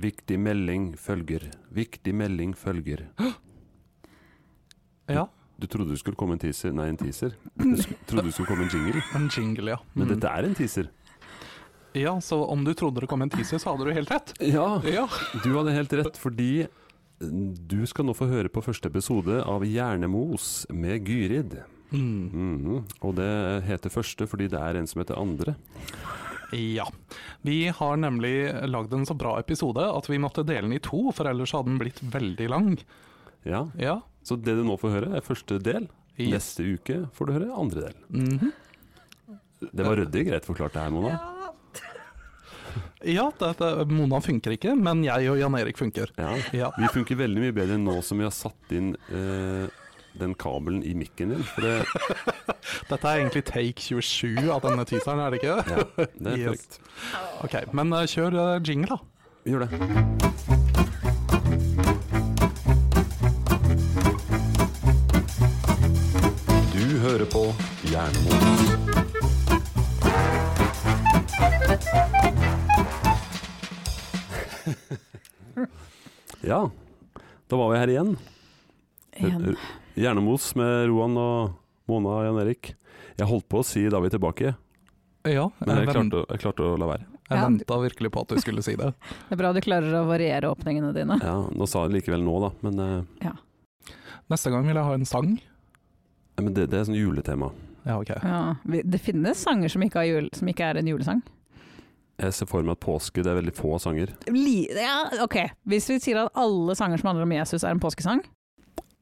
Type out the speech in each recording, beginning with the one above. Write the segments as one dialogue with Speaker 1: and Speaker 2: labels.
Speaker 1: Viktig melding følger. Viktig melding følger.
Speaker 2: Ja.
Speaker 1: Du trodde det skulle komme en teaser, nei, en teaser. Du sk- trodde det skulle komme en jingle,
Speaker 2: En jingle, ja.
Speaker 1: men
Speaker 2: Mm.
Speaker 1: dette er en teaser.
Speaker 2: Ja, Så om du trodde det kom en teaser, så hadde du helt rett.
Speaker 1: Ja,
Speaker 2: Ja.
Speaker 1: du hadde helt rett, fordi du skal nå få høre på første episode av Hjernemos med Gyrid.
Speaker 2: Mm.
Speaker 1: Mhm. Og det heter første fordi det er en som heter andre.
Speaker 2: ja. Vi har nemlig lagd en så bra episode at vi måtte dele den i to, for ellers hadde den blitt veldig lang.
Speaker 1: Ja,
Speaker 2: Ja.
Speaker 1: Så det du nå får høre, er første del.
Speaker 2: Yes.
Speaker 1: Neste uke får du høre andre del.
Speaker 2: Mhm.
Speaker 1: Det var ryddig greit forklart det her, Mona.
Speaker 2: Ja, dette, Mona funker ikke, men jeg og Jan Erik funker.
Speaker 1: Ja.
Speaker 2: Ja.
Speaker 1: Vi funker veldig mye bedre nå som vi har satt inn eh, den kabelen i mikken din. For det,
Speaker 2: Dette er egentlig take 27 av denne teaseren, er det ikke?
Speaker 1: ja, det er
Speaker 2: Yes.
Speaker 1: korrekt.
Speaker 2: Ok, men eh, kjør eh, jingle, da.
Speaker 1: Gjør det. Du hører på Jernmodus. Ja, da var vi her igjen.
Speaker 3: Igjen.
Speaker 1: Eh, Hjernemos med Roan og Mona og Jan Erik. Jeg holdt på å si da vi er tilbake,
Speaker 2: Ja,
Speaker 1: men
Speaker 2: jeg,
Speaker 1: jeg
Speaker 2: vent,
Speaker 1: klarte, å- jeg klarte å la være.
Speaker 2: jeg
Speaker 3: Ja.
Speaker 2: venta virkelig på at du skulle si det.
Speaker 3: Det er bra du klarer å variere åpningene dine.
Speaker 1: Ja, nå sa jeg det likevel nå, da. Men, eh,
Speaker 2: Neste gang vil jeg ha en sang.
Speaker 1: nei, men det, det er sånn juletema.
Speaker 2: Ja, ok.
Speaker 3: Ja, vi- det finnes sanger som ikke, har jul, som ikke er en julesang.
Speaker 1: Jeg ser for meg at påske det er veldig få sanger.
Speaker 3: Li ja, ok, Hvis vi sier at alle sanger som handler om Jesus er en påskesang,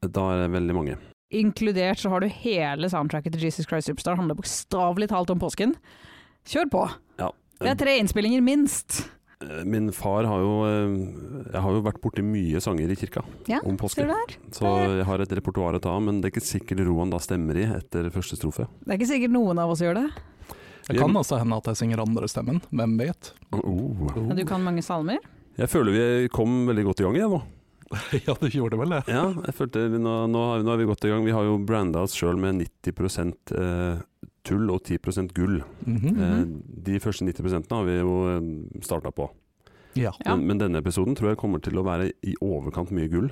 Speaker 1: Da er det veldig mange.
Speaker 3: inkludert så har du hele soundtracket til Jesus Christ Superstar, handler bokstavelig talt om påsken. Kjør på!
Speaker 1: Ja.
Speaker 3: Det er tre innspillinger, minst.
Speaker 1: Eh, Min far har jo eh, Jeg har jo vært borti mye sanger i kirka
Speaker 3: Ja,
Speaker 1: om
Speaker 3: Ser
Speaker 1: påske.
Speaker 3: du det her?
Speaker 1: Så jeg har et repertoar å ta av, men det er ikke sikkert Roan da stemmer i etter første strofe.
Speaker 3: Det er ikke sikkert noen av oss gjør det.
Speaker 2: Det kan også hende at jeg synger andre stemmen, hvem vet?
Speaker 1: Oh.
Speaker 3: Men du kan mange salmer.
Speaker 1: Jeg føler vi kom veldig godt i gang, jeg nå.
Speaker 2: ja, du gjorde vel det.
Speaker 1: Ja, jeg følte vi nå, nå, har, nå er vi godt i gang. Vi har jo branda oss sjøl med 90 eh, tull og 10 gull.
Speaker 2: Mhm.
Speaker 1: Eh,
Speaker 3: Mhm.
Speaker 1: De første 90 har vi jo starta på.
Speaker 2: Ja.
Speaker 3: Ja.
Speaker 1: Men, men denne episoden tror jeg kommer til å være i overkant mye gull.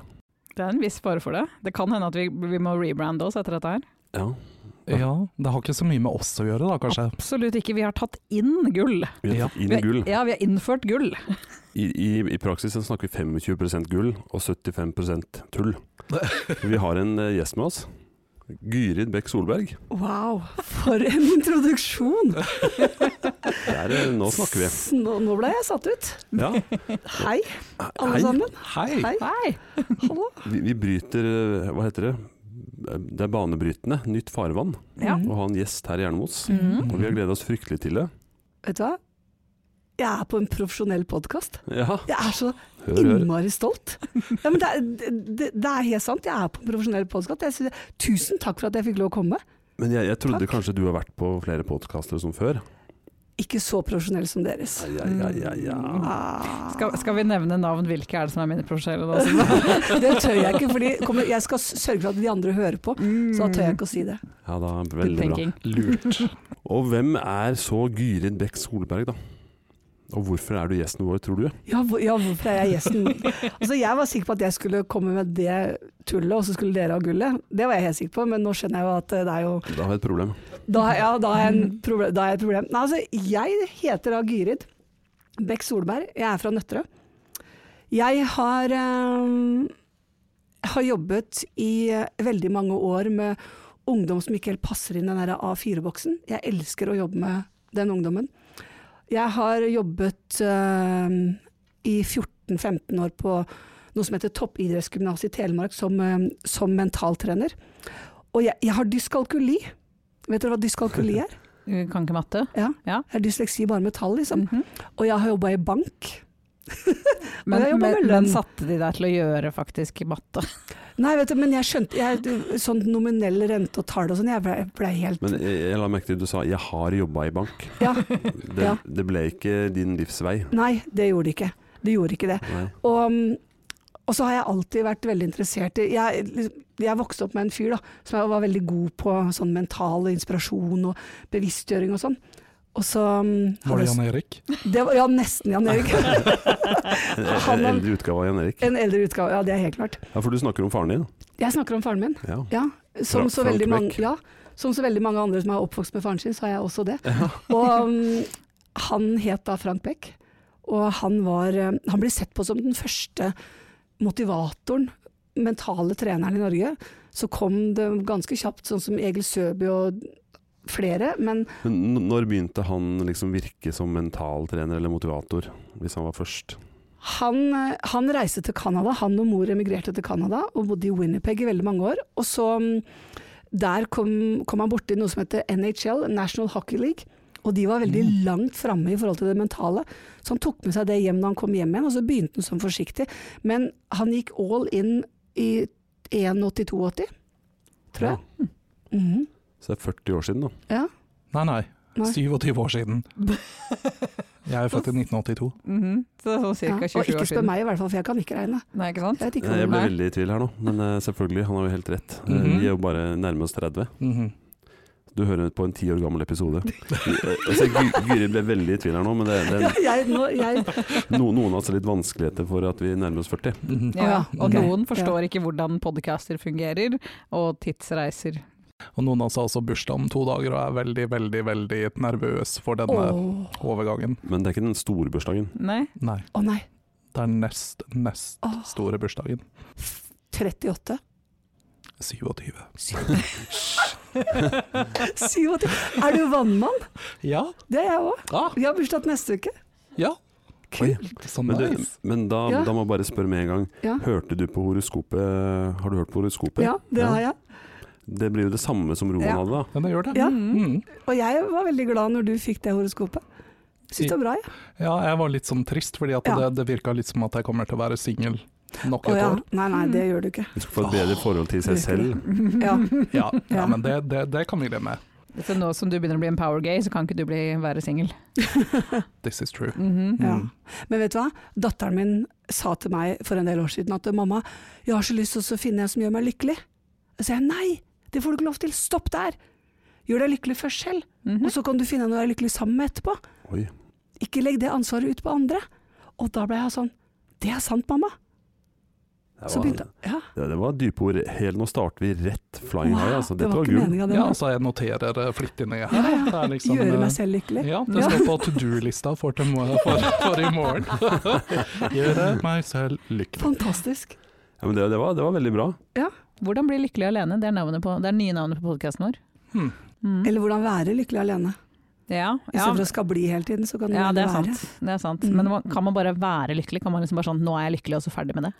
Speaker 3: Det er en viss fare for det. Det kan hende at vi, vi må rebrande oss etter dette her.
Speaker 1: Ja.
Speaker 2: ja. Det har ikke så mye med oss å gjøre, da, kanskje.
Speaker 3: Absolutt ikke. Vi har tatt inn gull.
Speaker 1: Vi har
Speaker 2: Ja.
Speaker 1: fått inn
Speaker 3: Vi har-
Speaker 1: gull.
Speaker 3: Ja, vi har innført gull.
Speaker 1: I, i, I praksis så snakker vi 25 gull og 75 tull. Vi har en eh, gjest med oss. Gyrid Bekk Solberg.
Speaker 4: Wow, for en introduksjon!
Speaker 1: Der, eh, nå snakker vi.
Speaker 4: S- Nå, nå ble jeg satt ut.
Speaker 1: Ja.
Speaker 4: Hei, alle
Speaker 1: Hei.
Speaker 4: sammen.
Speaker 2: Hei!
Speaker 4: Hei.
Speaker 3: Hei!
Speaker 4: Hallo.
Speaker 1: Vi, vi bryter eh, Hva heter det? Det er banebrytende. Nytt farvann.
Speaker 3: Ja.
Speaker 1: Å ha en gjest her i Jernmos.
Speaker 3: Mhm.
Speaker 1: Og vi har gleda oss fryktelig til det.
Speaker 4: Vet du hva? Jeg er på en profesjonell podkast.
Speaker 1: Ja, Mm.
Speaker 4: Jeg er så
Speaker 1: hør, hør.
Speaker 4: innmari stolt. Ja, men det, er- det, det er helt sant, jeg er på en profesjonell podkast. Tusen takk for at jeg fikk lov å komme.
Speaker 1: Men jeg, jeg trodde
Speaker 4: Takk.
Speaker 1: kanskje du har vært på flere podkaster som før?
Speaker 4: Ikke så profesjonell som deres.
Speaker 1: Ja, ja, ja, ja.
Speaker 4: Ah.
Speaker 3: Mm. Skal, skal vi nevne navn? Hvilke er det som er mine profesjonelle? da?
Speaker 4: Det tør jeg ikke, for jeg skal s- sørge for at de andre hører på. Så da tør jeg ikke å si det.
Speaker 1: ja da,
Speaker 3: Good
Speaker 1: veldig bra.
Speaker 3: thinking.
Speaker 2: Lurt.
Speaker 1: Og hvem er så Gyrid Bekk Solberg, da? Og hvorfor er du gjesten vår, tror du?
Speaker 4: Ja, hvor, ja, hvorfor er jeg gjesten? Altså, jeg var sikker på at jeg skulle komme med det tullet, og så skulle dere ha gullet. Det var jeg helt sikker på, men nå skjønner jeg jo at det er jo
Speaker 1: Da har jeg et problem.
Speaker 4: Da, ja, da, er, jeg en proble- da er jeg et problem. Nei, altså, jeg heter da Gyrid Bekk Solberg. Jeg er fra Nøtterøy. Jeg har, eh, har jobbet i eh, veldig mange år med ungdom som ikke helt passer inn i den der A4-boksen. Jeg elsker å jobbe med den ungdommen. Jeg har jobbet eh, i 14-15 år på noe som heter Toppidrettsgymnaset i Telemark som, eh, som mentaltrener. Og jeg, jeg har dyskalkuli. Vet dere hva dyskalkuli er?
Speaker 3: Du Eh, Kan ikke matte?
Speaker 4: Jeg har dysleksi bare med tall, liksom.
Speaker 3: Mhm.
Speaker 4: Og jeg har jobba i bank.
Speaker 3: Men,
Speaker 4: jeg jobber med
Speaker 3: men,
Speaker 4: lønn.
Speaker 3: men satte de deg til å gjøre faktisk matte?
Speaker 4: Nei, vet du, men jeg skjønte jeg, du, Sånn nominell rente og tall og sånn, jeg ble, ble helt
Speaker 1: Men jeg, jeg la merke til at du sa 'jeg har jobba i bank'.
Speaker 4: Ja.
Speaker 1: Det,
Speaker 4: Ja.
Speaker 1: det ble ikke din livsvei.
Speaker 4: Nei, det gjorde det ikke. Det gjorde ikke det.
Speaker 1: Nei.
Speaker 4: Og, mm, og så har jeg alltid vært veldig interessert i Jeg, liksom- jeg vokste opp med en fyr da, som jeg var veldig god på sånn mental inspirasjon og bevisstgjøring og sånn. Og så um,
Speaker 2: Var det
Speaker 4: hadde-
Speaker 2: Jan Erik?
Speaker 4: det var, Ja, nesten Jan Erik.
Speaker 1: En, en
Speaker 4: Han-
Speaker 1: E-, eldre utgave av Jan Erik.
Speaker 4: en eldre utgave, ja det er helt klart.
Speaker 1: Ja, For du snakker om faren din?
Speaker 4: Jeg snakker om faren min.
Speaker 1: Ja.
Speaker 4: Ja, som
Speaker 1: Fra-
Speaker 4: så,
Speaker 1: Frank
Speaker 4: veldig mange,
Speaker 1: Beck.
Speaker 4: ja, som så veldig mange andre som er oppvokst med faren sin, så er jeg også det. Og um, han het da Frank Beck, og han, var, um, han ble sett på som den første motivatoren, mentale treneren i Norge. Så kom det ganske kjapt, sånn som Egil Søby og flere, men
Speaker 1: Men n- når begynte han liksom virke som mentaltrener eller motivator, hvis han var først?
Speaker 4: Han, eh, han reiste til Canada. Han og mor emigrerte til Canada og bodde i Winnipeg i veldig mange år. Og så mm, Der kom, kom han borti noe som heter NHL, National Hockey League. Og de var veldig
Speaker 3: Mm.
Speaker 4: langt framme i forhold til det mentale, så han tok med seg det hjem da han kom hjem igjen. Og så begynte han sånn forsiktig. Men han gikk all in i 81-82, tror jeg. Mhm.
Speaker 3: Mm-hmm.
Speaker 1: Så det er 40 år siden, da.
Speaker 4: Ja.
Speaker 2: Nei, nei.
Speaker 4: Nei.
Speaker 2: 27 år siden. Jeg er født i 1982.
Speaker 3: Mhm. Så det er sånn
Speaker 4: ja.
Speaker 3: ca. 27
Speaker 4: Og ikke
Speaker 3: år
Speaker 4: spør
Speaker 3: siden.
Speaker 4: meg i hvert fall, for jeg kan ikke regne.
Speaker 3: Nei, ikke sant?
Speaker 4: Jeg vet ikke
Speaker 1: Jeg
Speaker 4: hvordan
Speaker 1: ble
Speaker 3: Nei.
Speaker 1: veldig i tvil her nå, men eh, selvfølgelig, han har jo helt rett. Eh,
Speaker 2: Mhm.
Speaker 1: Vi er jo bare nærme oss 30.
Speaker 2: Mhm.
Speaker 1: Du hører på en ti år gammel episode. Jeg ser Gy- Gyri ble veldig i tvil her nå, men det, det,
Speaker 4: Ja, jeg, nå, jeg,
Speaker 1: no, noen av oss har litt vanskeligheter for at vi nærmer oss 40.
Speaker 2: Mhm.
Speaker 3: Ja,
Speaker 4: Å ja,
Speaker 3: og
Speaker 4: ok.
Speaker 3: noen forstår ikke hvordan podcaster fungerer, og tidsreiser.
Speaker 2: Og noen av oss har altså også bursdag om to dager og er veldig, veldig veldig nervøs for denne
Speaker 4: Åh.
Speaker 2: overgangen.
Speaker 1: Men det er ikke den store bursdagen.
Speaker 3: Nei,
Speaker 2: Nei,
Speaker 4: Å nei.
Speaker 2: det er nest, nest
Speaker 4: Åh.
Speaker 2: store bursdagen.
Speaker 4: 38.
Speaker 2: 27.
Speaker 4: 87. Er du vannmann?
Speaker 2: Ja.
Speaker 4: Det er jeg òg.
Speaker 2: Ah,
Speaker 4: Vi har bursdag neste uke.
Speaker 2: ja.
Speaker 1: Kult.
Speaker 2: Så
Speaker 1: Men, du,
Speaker 2: Sånn nice.
Speaker 1: men da,
Speaker 4: Ja.
Speaker 1: da må jeg bare spørre med en gang.
Speaker 4: Ja.
Speaker 1: Hørte du på horoskopet? Har du hørt på horoskopet?
Speaker 4: Ja, det har jeg.
Speaker 1: Det blir jo det samme som Roman
Speaker 4: Ja.
Speaker 1: hadde, da.
Speaker 2: Ja, det gjør det.
Speaker 4: Ja.
Speaker 2: Mhm. Mhm.
Speaker 4: Og jeg var veldig glad når du fikk det horoskopet. Syns det var bra, jeg.
Speaker 2: Ja, jeg var litt sånn trist, fordi at
Speaker 4: Ja.
Speaker 2: det, det virka litt som at jeg kommer til å være singel nok
Speaker 4: Å
Speaker 2: et
Speaker 4: ja.
Speaker 2: år.
Speaker 4: Nei, nei, det gjør du ikke.
Speaker 1: Hun skal få et bedre forhold til seg
Speaker 4: virkelig.
Speaker 1: selv.
Speaker 4: Ja.
Speaker 2: Ja, ja
Speaker 4: Ja.
Speaker 2: men det, det, det kan vi leve med.
Speaker 3: så nå som du begynner å bli en power gay, så kan ikke du bli, være singel.
Speaker 2: This is true.
Speaker 3: Mhm.
Speaker 4: ja.
Speaker 2: Mm.
Speaker 4: Men vet du hva? Datteren min sa til meg for en del år siden at mamma, jeg har så lyst til å finne en som gjør meg lykkelig. Og så sa jeg nei, det får du ikke lov til. Stopp der. Gjør deg lykkelig først selv,
Speaker 3: Mhm.
Speaker 4: og så kan du finne en å være lykkelig sammen med etterpå.
Speaker 1: Oi.
Speaker 4: Ikke legg det ansvaret ut på andre. Og da ble jeg sånn, det er sant, mamma.
Speaker 1: Det
Speaker 4: Så
Speaker 1: var,
Speaker 4: begynte ja.
Speaker 1: det, det var dype ord. Helt nå starter vi rett flying high, altså.
Speaker 4: Det
Speaker 1: Dette
Speaker 4: var
Speaker 1: var
Speaker 4: ikke
Speaker 1: gull.
Speaker 4: meninga, det.
Speaker 2: Ja,
Speaker 4: var-
Speaker 2: altså jeg noterer det flittig ned
Speaker 4: Ja,
Speaker 2: her.
Speaker 4: ja.
Speaker 2: Det er liksom,
Speaker 4: Gjøre
Speaker 2: eh,
Speaker 4: meg selv lykkelig.
Speaker 2: Ja, det står på to do-lista for, til mo- for, for i morgen. Gjøre meg selv lykkelig.
Speaker 4: Fantastisk.
Speaker 2: Mm.
Speaker 1: Ja, men det, det, var, det var veldig bra.
Speaker 3: Hvordan bli lykkelig alene, det er, navnet på, det er nye navnet på podcasten vår.
Speaker 2: Hmm.
Speaker 3: Mhm.
Speaker 4: Eller hvordan være lykkelig alene.
Speaker 3: Ja, ja.
Speaker 4: Istedenfor å skal bli hele tiden, så kan du
Speaker 3: ja, det er
Speaker 4: være.
Speaker 3: sant. Det er sant.
Speaker 4: Mhm.
Speaker 3: Men man- kan man bare være lykkelig? Kan man liksom bare sånn, nå er jeg lykkelig og så ferdig med det?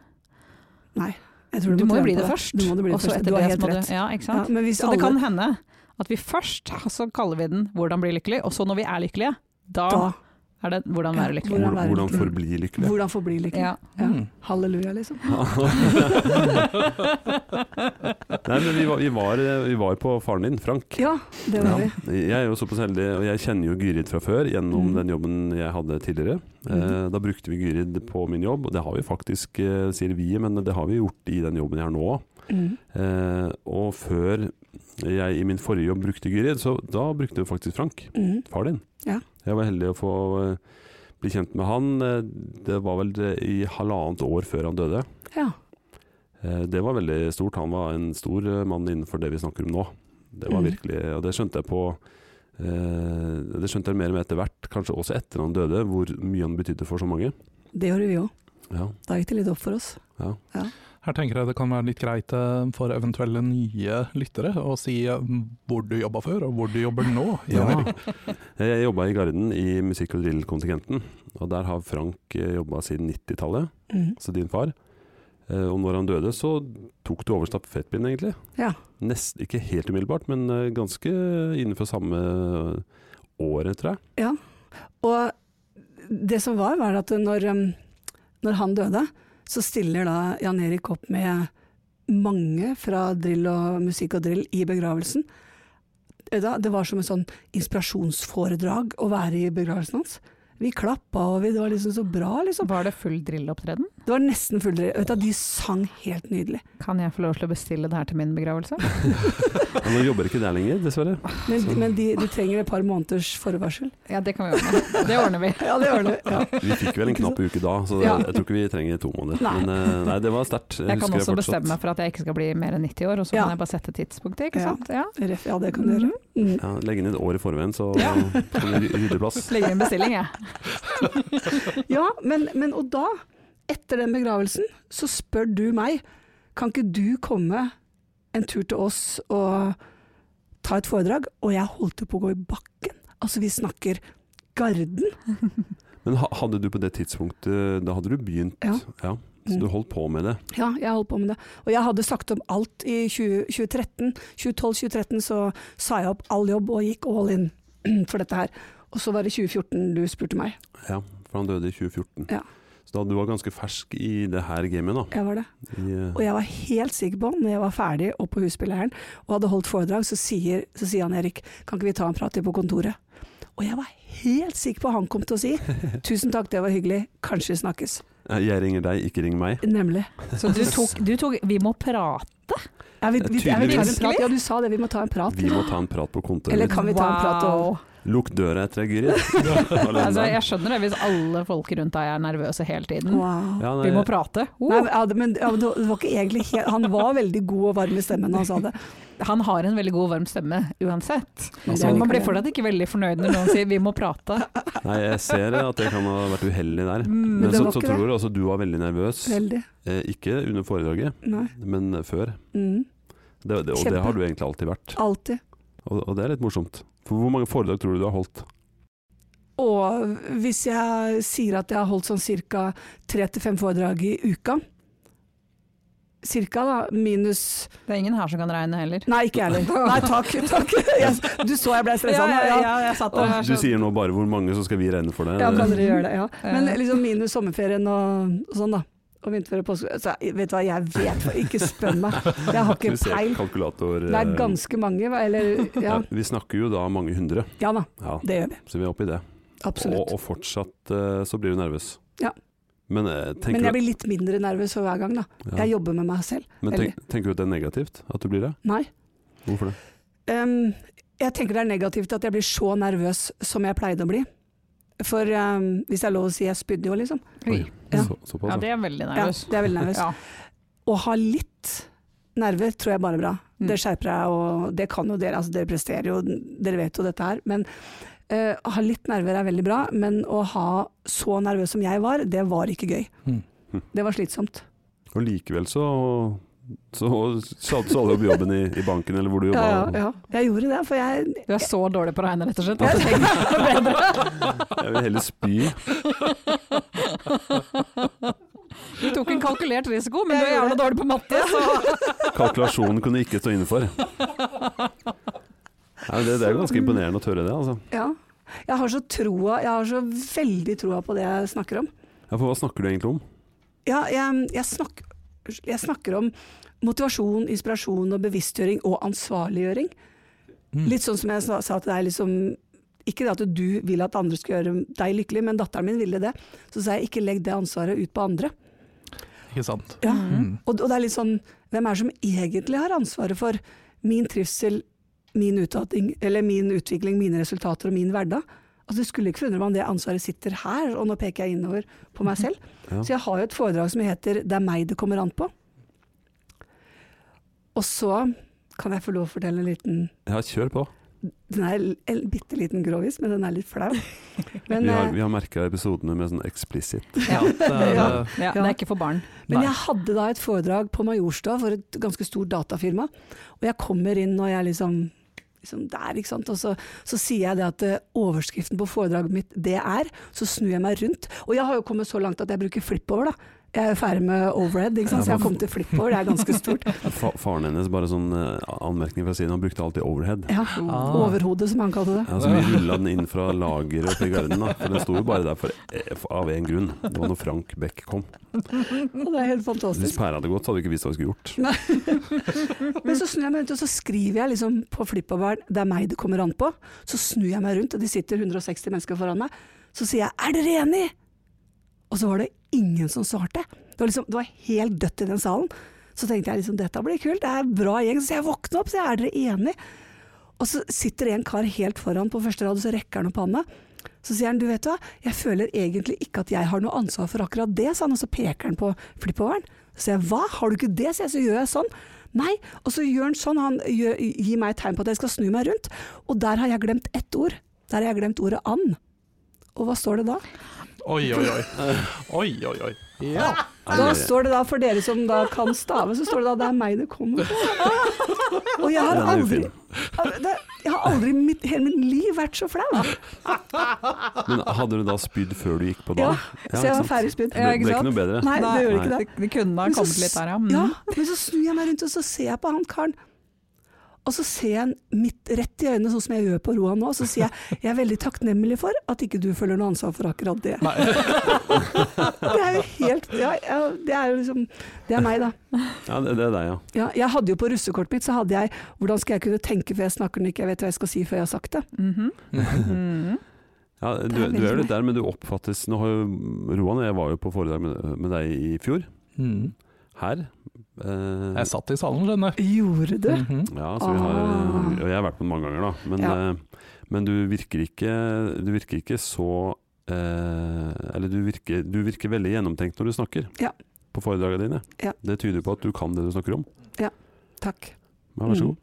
Speaker 4: Nei. Jeg tror
Speaker 3: Du må
Speaker 4: trene
Speaker 3: jo bli
Speaker 4: på
Speaker 3: det først,
Speaker 4: Du må det bli
Speaker 3: og så
Speaker 4: først.
Speaker 3: etter
Speaker 4: Du har
Speaker 3: det så
Speaker 4: helt
Speaker 3: må
Speaker 4: rett.
Speaker 3: du Ja, ikke
Speaker 4: Ja,
Speaker 3: sant?
Speaker 4: men hvis
Speaker 3: Så det
Speaker 4: alle,
Speaker 3: kan hende at vi først så kaller vi den 'hvordan bli lykkelig', og så når vi er lykkelige, da,
Speaker 4: da,
Speaker 3: er det 'hvordan
Speaker 4: Ja,
Speaker 3: være lykkelig'.
Speaker 1: Hvor-
Speaker 4: Hvordan være
Speaker 1: Hvordan
Speaker 4: lykkelig?
Speaker 1: forbli lykkelig.
Speaker 4: hvordan forbli lykkelig?
Speaker 3: Ja.
Speaker 4: Ja.
Speaker 2: Mm.
Speaker 4: Halleluja, liksom.
Speaker 1: Nei, men vi var, vi, var, eh, vi var på faren din, Frank.
Speaker 4: Ja, det var vi.
Speaker 1: Jeg er jo såpass heldig, og jeg kjenner jo Gyrid fra før gjennom
Speaker 4: Mm.
Speaker 1: den jobben jeg hadde tidligere. Eh, da brukte vi Gyrid på min jobb, og det har vi faktisk, eh, sier vi, men det har vi gjort i den jobben jeg har nå.
Speaker 4: Mm.
Speaker 1: Eh, og før jeg i min forrige jobb brukte Gyrid, så da brukte vi faktisk Frank,
Speaker 4: Mm.
Speaker 1: far din.
Speaker 4: Ja.
Speaker 1: Jeg var heldig å få eh, bli kjent med han. Eh, Det var vel eh, i halvannet år før han døde.
Speaker 4: Ja.
Speaker 1: Eh, Det var veldig stort. Han var en stor eh, mann innenfor det vi snakker om nå. Det var
Speaker 4: Mm.
Speaker 1: virkelig, og det skjønte jeg på eh, Det skjønte jeg mer og mer etter hvert, kanskje også etter han døde, hvor mye han betydde for så mange.
Speaker 4: Det gjorde vi òg.
Speaker 1: Ja.
Speaker 4: Da gikk det litt opp for oss.
Speaker 2: Her tenker jeg det kan være litt greit eh, for eventuelle nye lyttere å si eh, hvor du jobba før, og hvor du jobber nå. Jan Erik.
Speaker 1: Jeg jobba i Garden i musikk- og drillkontingenten, og der har Frank jobba siden 90-tallet,
Speaker 4: Mm.
Speaker 1: altså din far. Eh, Og når han døde, så tok du over stafettpinnen, egentlig.
Speaker 4: Ja.
Speaker 1: Nest, ikke helt umiddelbart, men eh, ganske innenfor samme eh, året, tror jeg.
Speaker 4: Og det som var, var at når, um, når han døde, så stiller da Jan Erik opp med mange fra drill og musikk og drill i begravelsen. Da, det var som en sånn inspirasjonsforedrag å være i begravelsen hans. Vi klappa, og vi, det var liksom så bra, liksom.
Speaker 3: Var det full drilleopptreden?
Speaker 4: Det var nesten full drøy. Vet du, De sang helt nydelig.
Speaker 3: Kan jeg få lov til å bestille det her til min begravelse?
Speaker 1: Men nå jobber ikke der lenger, dessverre.
Speaker 4: Men, men de, de trenger et par måneders forvarsel.
Speaker 3: Ja, det kan vi ordne. Det ordner vi.
Speaker 4: Ja, det gjør det. Ja.
Speaker 1: Vi fikk vel en knapp uke da, så
Speaker 4: Ja.
Speaker 1: jeg tror ikke vi trenger to måneder.
Speaker 4: Nei.
Speaker 1: Men eh, nei, det var sterkt.
Speaker 3: Jeg kan
Speaker 1: husker
Speaker 3: også
Speaker 1: fortsatt.
Speaker 3: bestemme meg for at jeg ikke skal bli mer enn 90 år, og så
Speaker 4: Ja.
Speaker 3: kan jeg bare sette tidspunktet, ikke
Speaker 4: Ja.
Speaker 3: sant? Ja.
Speaker 4: Ref, ja, det kan du gjøre. Mm.
Speaker 1: Ja, legge inn et år i forveien, så kan vi rydde plass.
Speaker 3: Legger inn bestilling, jeg.
Speaker 4: Ja, men, men og da, etter den begravelsen, så spør du meg Kan ikke du komme en tur til oss og ta et foredrag? Og jeg holdt jo på å gå i bakken. Altså, vi snakker Garden.
Speaker 1: Men ha- hadde du på det tidspunktet eh, Da hadde du begynt,
Speaker 4: Ja.
Speaker 1: så
Speaker 4: Mm.
Speaker 1: du holdt på med det.
Speaker 4: Ja, jeg holdt på med det. Og jeg hadde sagt opp alt i 20, 2013. 2012-2013 så sa jeg opp all jobb og gikk all in for dette her. Og så var det 2014 du spurte meg.
Speaker 1: Ja, for han døde i 2014.
Speaker 4: Ja.
Speaker 1: Så da du var ganske fersk i det her gamet, da.
Speaker 4: Jeg var det.
Speaker 1: I, eh,
Speaker 4: Og jeg var helt sikker på, når jeg var ferdig og på husspilleren og hadde holdt foredrag, så sier, så sier han Erik, kan ikke vi ta en prat til på kontoret? Og jeg var helt sikker på han kom til å si, tusen takk, det var hyggelig, kanskje vi snakkes.
Speaker 1: Jeg ringer deg, ikke ring meg.
Speaker 4: Nemlig.
Speaker 3: Så du tok, du tok Vi må prate.
Speaker 4: Ja, vi, vi, ja, vi tar en
Speaker 1: Tydeligvis.
Speaker 4: prat. Ja, du sa det, vi må ta en prat.
Speaker 1: Vi må ta en prat på kontoret
Speaker 4: Eller
Speaker 1: mitt.
Speaker 4: kan vi ta en prat og
Speaker 3: Wow.
Speaker 1: Lukk døra etter deg, Gyrid. Alene
Speaker 3: Altså,
Speaker 1: der.
Speaker 3: jeg skjønner det hvis alle folk rundt deg er nervøse hele tiden.
Speaker 4: Wow.
Speaker 1: Ja, nei,
Speaker 3: Vi må prate. Oh,
Speaker 4: Nei, men- ja, men ja, men det var ikke egentlig helt, Han var veldig god og varm i stemmen når han sa det.
Speaker 3: han har en veldig god, varm stemme uansett.
Speaker 1: Altså,
Speaker 3: Men man blir fortsatt ikke veldig fornøyd når noen sier 'vi må prate'.
Speaker 1: nei, jeg ser at jeg kan ha vært uheldig der.
Speaker 3: Mm,
Speaker 1: Men
Speaker 4: det
Speaker 1: så,
Speaker 4: var
Speaker 1: så
Speaker 4: ikke
Speaker 1: tror jeg også du var veldig nervøs.
Speaker 4: Veldig.
Speaker 1: Eh, ikke under foredraget,
Speaker 4: Nei.
Speaker 1: men før.
Speaker 4: Mm.
Speaker 1: Det, det, og
Speaker 4: Kjempe.
Speaker 1: det har du egentlig alltid vært.
Speaker 4: Alltid.
Speaker 1: Og, og det er litt morsomt. For hvor mange foredrag tror du du har holdt?
Speaker 4: Og hvis jeg sier at jeg har holdt sånn cirka tre til fem foredrag i uka Cirka, da. Minus
Speaker 3: Det er ingen her som kan regne heller.
Speaker 4: Nei, ikke jeg heller. Nei, takk. takk. Jeg- Du så jeg ble stressa nå. sånn, Ja,
Speaker 3: jeg satt
Speaker 1: Ah, Du sier nå bare hvor mange, så skal vi regne for deg.
Speaker 4: ja, kan dere gjøre det? Ja. Men
Speaker 3: Ja.
Speaker 4: liksom minus sommerferien og og sånn, da. Og vinterferie og påske. Så jeg- vet du hva, jeg vet for- Ikke spør meg. Jeg har
Speaker 1: Skal vi
Speaker 4: ikke
Speaker 1: se
Speaker 4: peil.
Speaker 1: kalkulator
Speaker 4: Det
Speaker 1: eh,
Speaker 4: er ganske mange, hva- eller
Speaker 1: ja.
Speaker 4: Ja,
Speaker 1: Vi snakker jo da mange hundre,
Speaker 4: ja da.
Speaker 1: ja,
Speaker 4: Det gjør vi.
Speaker 1: så vi er oppe i det.
Speaker 4: Absolutt.
Speaker 1: Og, og fortsatt eh, så blir du nervøs.
Speaker 4: Ja.
Speaker 1: Men, eh, tenker,
Speaker 4: Men jeg blir litt mindre nervøs for hver gang, da.
Speaker 1: du, ja.
Speaker 4: Jeg jobber med meg selv.
Speaker 1: Men tenk, tenker du at det er negativt at du blir det?
Speaker 4: Nei.
Speaker 1: Hvorfor det?
Speaker 4: Ehm, jeg tenker det er negativt at jeg blir så nervøs som jeg pleide å bli. For ehm, hvis det er lov å si, jeg spydde jo, liksom.
Speaker 3: Oi.
Speaker 4: Ja.
Speaker 1: Så, såpass,
Speaker 3: Ja,
Speaker 1: ja.
Speaker 3: det er veldig
Speaker 4: Ja,
Speaker 3: nervøs.
Speaker 4: det er veldig nervøs.
Speaker 3: Ja.
Speaker 4: Å ha litt nerver tror jeg bare er bra.
Speaker 3: Mm.
Speaker 4: Det skjerper deg, og det kan jo dere. Altså, dere presterer jo, dere vet jo dette her. Men eh, å ha litt nerver er veldig bra, men å ha så nervøs som jeg var, det var ikke gøy.
Speaker 2: Mm.
Speaker 4: Det var slitsomt.
Speaker 1: Og likevel så så sa sa du opp jobben i, i banken, eller hvor du jobba.
Speaker 4: Jeg gjorde det, for jeg
Speaker 3: Du er så dårlig på å regne, rett og slett. at du tenker bedre.
Speaker 1: Jeg vil heller spy.
Speaker 3: Du tok en kalkulert risiko, men
Speaker 4: Jeg
Speaker 3: du er
Speaker 4: gjorde
Speaker 3: jævla
Speaker 4: det.
Speaker 3: dårlig på matte, så
Speaker 1: Kalkulasjonen kunne ikke stå inne for. Nei, det, det er ganske imponerende å tørre det, altså.
Speaker 4: Ja. Jeg har så troa, jeg har så veldig troa på det jeg snakker om.
Speaker 1: Ja, for hva snakker du egentlig om?
Speaker 4: Ja, jeg, jeg, snak, jeg snakker om motivasjon, inspirasjon og bevisstgjøring og ansvarliggjøring.
Speaker 2: Mm.
Speaker 4: Litt sånn som jeg sa, sa til deg, liksom Ikke det at du vil at andre skal gjøre deg lykkelig, men datteren min ville det. Så sa jeg ikke legg det ansvaret ut på andre.
Speaker 2: Ikke sant.
Speaker 4: Ja.
Speaker 2: Mm.
Speaker 4: Og, og det er litt sånn Hvem er det som egentlig har ansvaret for min trivsel, min utdanning, eller min utvikling, mine resultater og min hverdag? Altså, det skulle ikke forundre meg om det ansvaret sitter her, og nå peker jeg innover på meg selv.
Speaker 1: Ja.
Speaker 4: Så jeg har jo et foredrag som heter 'Det er meg det kommer an på'. Og så kan jeg få lov å fortelle en liten
Speaker 1: Ja, kjør på.
Speaker 4: Den er en bitte liten grovis, men den er litt flau. Men,
Speaker 1: Vi har,
Speaker 4: eh,
Speaker 1: vi har merka episodene med sånn eksplisitt.
Speaker 2: Ja, det er, eh,
Speaker 4: Ja.
Speaker 3: ja, Det er ikke for barn.
Speaker 4: Men
Speaker 2: Nei.
Speaker 4: jeg hadde da et foredrag på Majorstua for et ganske stort datafirma. Og jeg kommer inn og jeg er liksom, liksom der, ikke sant. Og så, så sier jeg det at eh, overskriften på foredraget mitt det er, så snur jeg meg rundt. Og jeg har jo kommet så langt at jeg bruker flippover, da. Jeg er jo ferdig med overhead, ikke sant? så jeg har kommet til flippover, det er ganske stort.
Speaker 1: Fa faren hennes, bare sånn eh, anmerkning fra siden, han brukte alltid overhead.
Speaker 4: Ja,
Speaker 2: Ah.
Speaker 4: Overhodet, som han kalte det.
Speaker 1: Ja, så vi rulla den inn fra lageret oppe i garden, da. For den sto jo bare der for, eh, for, av én grunn. Det var når Frank Beck kom.
Speaker 4: Og det er helt
Speaker 1: Hvis
Speaker 4: fantastisk.
Speaker 1: pæra hadde gått, så hadde vi ikke visst hva vi skulle gjort.
Speaker 4: Men så snur jeg meg rundt, og så skriver jeg liksom på flippoveren 'det er meg det kommer an på'. Så snur jeg meg rundt, og det sitter 160 mennesker foran meg. Så sier jeg 'er dere enig?' Og så var det ingen som svarte. Det var, liksom, det var helt dødt i den salen. Så tenkte jeg liksom 'dette blir kult, det er en bra gjeng'. Så jeg våkna opp, så jeg 'er dere enig?' Og så sitter det en kar helt foran på første rad, og så rekker han opp handa. Så sier han 'du vet hva, jeg føler egentlig ikke at jeg har noe ansvar for akkurat det', sa han, og så peker han på flippoveren. Så sier jeg 'hva, har du ikke det', sier jeg, så gjør jeg sånn. Nei, og så gjør han sånn, han gjør, gir meg et tegn på at jeg skal snu meg rundt, og der har jeg glemt ett ord. Der har jeg glemt ordet 'and'. Og hva står det da?
Speaker 2: Oi, oi, oi. Oi, oi, oi. Ja.
Speaker 4: Da står det da, for dere som da kan stave, så står det da 'det er meg det kommer på'. Og jeg har
Speaker 1: Den er jo
Speaker 4: aldri
Speaker 1: fin.
Speaker 4: det- Jeg har aldri i mitt, hele mitt liv vært så flau.
Speaker 1: Men hadde du da spydd før du gikk på
Speaker 4: Ja,
Speaker 1: da?
Speaker 4: så jeg var ferdig spydd.
Speaker 1: Det ble ikke noe bedre.
Speaker 4: Nei, det gjorde
Speaker 1: Nei.
Speaker 4: ikke det.
Speaker 3: Det, det kunne ha
Speaker 4: Men så
Speaker 3: kommet litt der, ja. Mm.
Speaker 4: Ja, men så snur jeg meg rundt og så ser jeg på han karen. Og så ser jeg han midt rett i øynene, sånn som jeg gjør på Roan nå. Så sier jeg jeg er veldig takknemlig for at ikke du føler noe ansvar for akkurat det. det er jo helt ja, ja, Det er jo liksom Det er meg, da.
Speaker 1: Ja, det, det er deg, ja.
Speaker 4: Ja, jeg hadde jo på russekortet mitt, så hadde jeg 'Hvordan skal jeg kunne tenke før jeg snakker når ikke jeg vet hva jeg skal si før jeg har sagt det'?
Speaker 3: Mhm. Mhm.
Speaker 1: ja du,
Speaker 4: Det er
Speaker 1: du er jo
Speaker 4: veldig
Speaker 1: litt der, men du oppfattes Nå har jo Roan og jeg var jo på foredrag med, med deg i fjor,
Speaker 2: Mm.
Speaker 1: her. Eh,
Speaker 2: Jeg satt i salen, skjønner jeg.
Speaker 4: Gjorde du?
Speaker 2: Mhm.
Speaker 1: Ja, så vi har,
Speaker 4: Ah.
Speaker 1: og jeg har vært på den mange ganger, da. Men,
Speaker 4: Ja.
Speaker 1: eh, men du, virker ikke, du virker ikke så eh, Eller du virker, du virker veldig gjennomtenkt når du snakker
Speaker 4: Ja.
Speaker 1: på foredragene dine.
Speaker 4: Ja.
Speaker 1: Det tyder på at du kan det du snakker om.
Speaker 4: Takk.
Speaker 1: Ja, vær så
Speaker 4: Mm.
Speaker 1: god.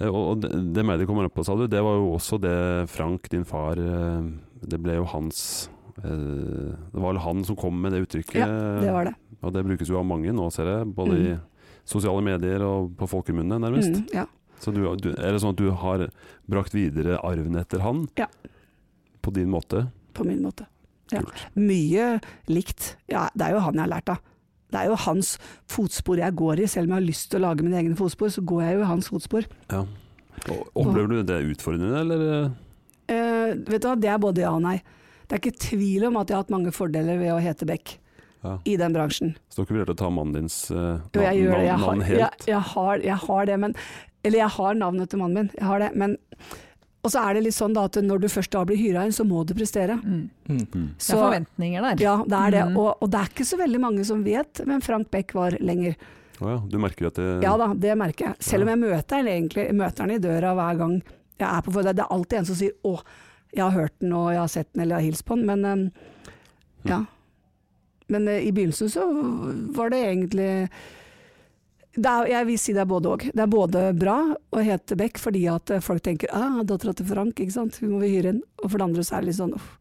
Speaker 1: Eh, Og, og det, det meg det kommer opp på, sa du, det var jo også det Frank, din far eh, Det ble jo hans eh, Det var vel han som kom med det uttrykket.
Speaker 4: Det var det.
Speaker 1: Og det brukes jo av mange nå, ser jeg. Både
Speaker 4: Mm.
Speaker 1: i sosiale medier og på folkemunne, nærmest.
Speaker 4: Mm, ja.
Speaker 1: Så du, du, er det sånn at du har brakt videre arven etter han?
Speaker 4: Ja.
Speaker 1: På din måte?
Speaker 4: på min måte. Ja.
Speaker 1: Kult.
Speaker 4: Mye likt. Ja, det er jo han jeg har lært av. Det er jo hans fotspor jeg går i, selv om jeg har lyst til å lage mine egne fotspor, så går jeg jo i hans fotspor.
Speaker 1: Ja. Og, opplever du det utfordrende, eller?
Speaker 4: Eh, vet du hva, det er både ja og nei. Det er ikke tvil om at jeg har hatt mange fordeler ved å hete Beck
Speaker 1: Ja.
Speaker 4: i den bransjen.
Speaker 1: Står ikke vurdert å ta mannen dins eh,
Speaker 4: Jo, jeg gjør det. Jeg har,
Speaker 1: navn
Speaker 4: jeg,
Speaker 1: helt?
Speaker 4: jeg har, jeg har det, men Eller jeg har navnet til mannen min, jeg har det. Men og så er det litt sånn da at når du først da blir hyra inn, så må du prestere.
Speaker 3: Mm.
Speaker 1: Mm.
Speaker 3: Det er
Speaker 4: Så-
Speaker 3: forventninger der.
Speaker 4: ja, det er det.
Speaker 3: Mm.
Speaker 4: Og, og det er ikke så veldig mange som vet hvem Frank Beck var lenger.
Speaker 1: Å ja, du merker at det
Speaker 4: Ja da, det merker jeg. Selv om jeg møter han egentlig, møter han i døra hver gang jeg er på foredrag. Det er alltid en som sier 'Å, jeg har hørt den, og jeg har sett den, eller jeg har hilst på den'. Men ehm, ja. Men eh, i begynnelsen så var det egentlig det er, Jeg vil si det er både òg. Det er både bra å hete Beck fordi at eh, folk tenker 'ah, dattera til Frank, ikke sant, hun må vi hyre inn'. Og for det andre så er det litt sånn uff,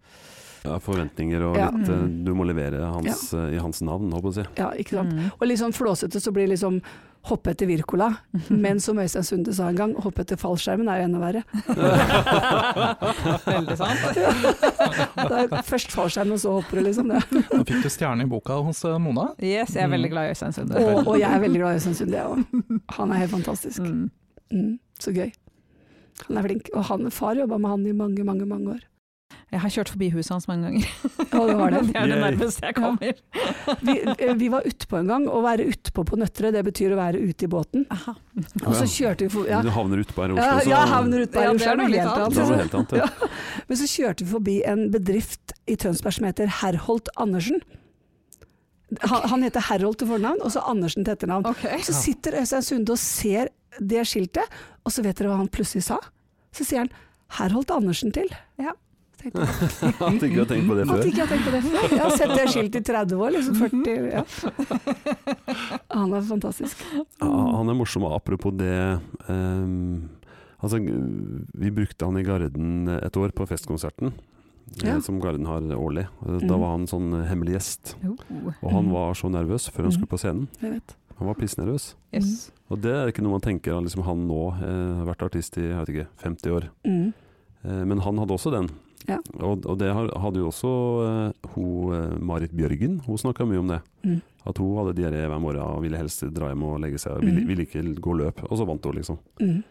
Speaker 1: ja, forventninger og
Speaker 4: Ja.
Speaker 1: litt eh,
Speaker 3: Mm.
Speaker 1: Du må levere hans, eh, i hans navn, håper jeg å si.
Speaker 4: ja, ikke sant.
Speaker 3: Mm.
Speaker 4: Og litt sånn flåsete så blir det liksom hoppe etter Wirkola.
Speaker 3: Mm.
Speaker 4: Men som Øystein Sunde sa en gang, hoppe etter fallskjermen er jo enda verre.
Speaker 3: Veldig sant.
Speaker 4: Det er først fallskjerm, og så hopper du, liksom. Det.
Speaker 2: Da fikk du stjerne i boka hos eh, Mona.
Speaker 3: Yes, jeg er
Speaker 1: Mm.
Speaker 3: veldig glad i Øystein Sunde.
Speaker 4: Og, og jeg er veldig glad i Øystein Sunde, jeg òg. Han er helt fantastisk.
Speaker 3: Mm.
Speaker 4: Mm, så gøy. Han er flink. Og han, far jobba med han i mange, mange mange år.
Speaker 3: Jeg har kjørt forbi huset hans mange ganger.
Speaker 4: Og det var det.
Speaker 3: er det
Speaker 1: Yay.
Speaker 3: nærmeste jeg kommer.
Speaker 4: Vi, eh, vi var utpå en gang. Å være utpå på Nøtterøy, det betyr å være ute i båten.
Speaker 3: Aha.
Speaker 4: Og så kjørte vi for, ja.
Speaker 1: Du havner utpå her i
Speaker 4: Ja,
Speaker 1: Oslo,
Speaker 4: jeg havner ute på
Speaker 3: Ja,
Speaker 4: ja,
Speaker 3: det er noe litt annet.
Speaker 1: Da er det helt annet. Ja.
Speaker 4: Men så kjørte vi forbi en bedrift i Tønsberg som heter Herholt Andersen. Han, han heter Herholt til fornavn, og så Andersen til etternavn.
Speaker 3: Ok.
Speaker 4: Så sitter Øystein Sunde og ser det skiltet, og så vet dere hva han plutselig sa? Så sier han 'her holdt Andersen til'.
Speaker 3: Ja.
Speaker 4: Tenkte jeg.
Speaker 1: At ikke du har tenkt på det
Speaker 4: At
Speaker 1: før.
Speaker 4: ikke jeg tenkte det før. Jeg har sett det skiltet i 30 år, liksom 40 ja. Han er fantastisk.
Speaker 1: Ja,
Speaker 4: Mm.
Speaker 1: han er morsom, og apropos det ehm, Altså, vi brukte han i Garden et år på festkonserten. eh,
Speaker 4: Ja.
Speaker 1: Som Garden har årlig. Eh, Da
Speaker 4: Mhm.
Speaker 1: var han sånn hemmelig gjest.
Speaker 3: Oh.
Speaker 1: Og han var så nervøs før han
Speaker 4: Mhm.
Speaker 1: skulle på scenen.
Speaker 4: Mm. Jeg vet.
Speaker 1: Han var pissnervøs.
Speaker 3: Yes.
Speaker 1: Og det er ikke noe man tenker av liksom, han nå, eh, har vært artist i jeg vet ikke, 50 år.
Speaker 4: Mm.
Speaker 1: Eh, men han hadde også den.
Speaker 4: Ja.
Speaker 1: Og, og det har- hadde jo også eh, hun, eh, Marit Bjørgen. Hun snakka mye om det.
Speaker 4: Mhm.
Speaker 1: At hun hadde diaré hver morgen og ville helst dra hjem og legge seg. og Ville,
Speaker 4: Mhm.
Speaker 1: ville ikke gå løp. Og så vant hun, liksom.
Speaker 4: Mm.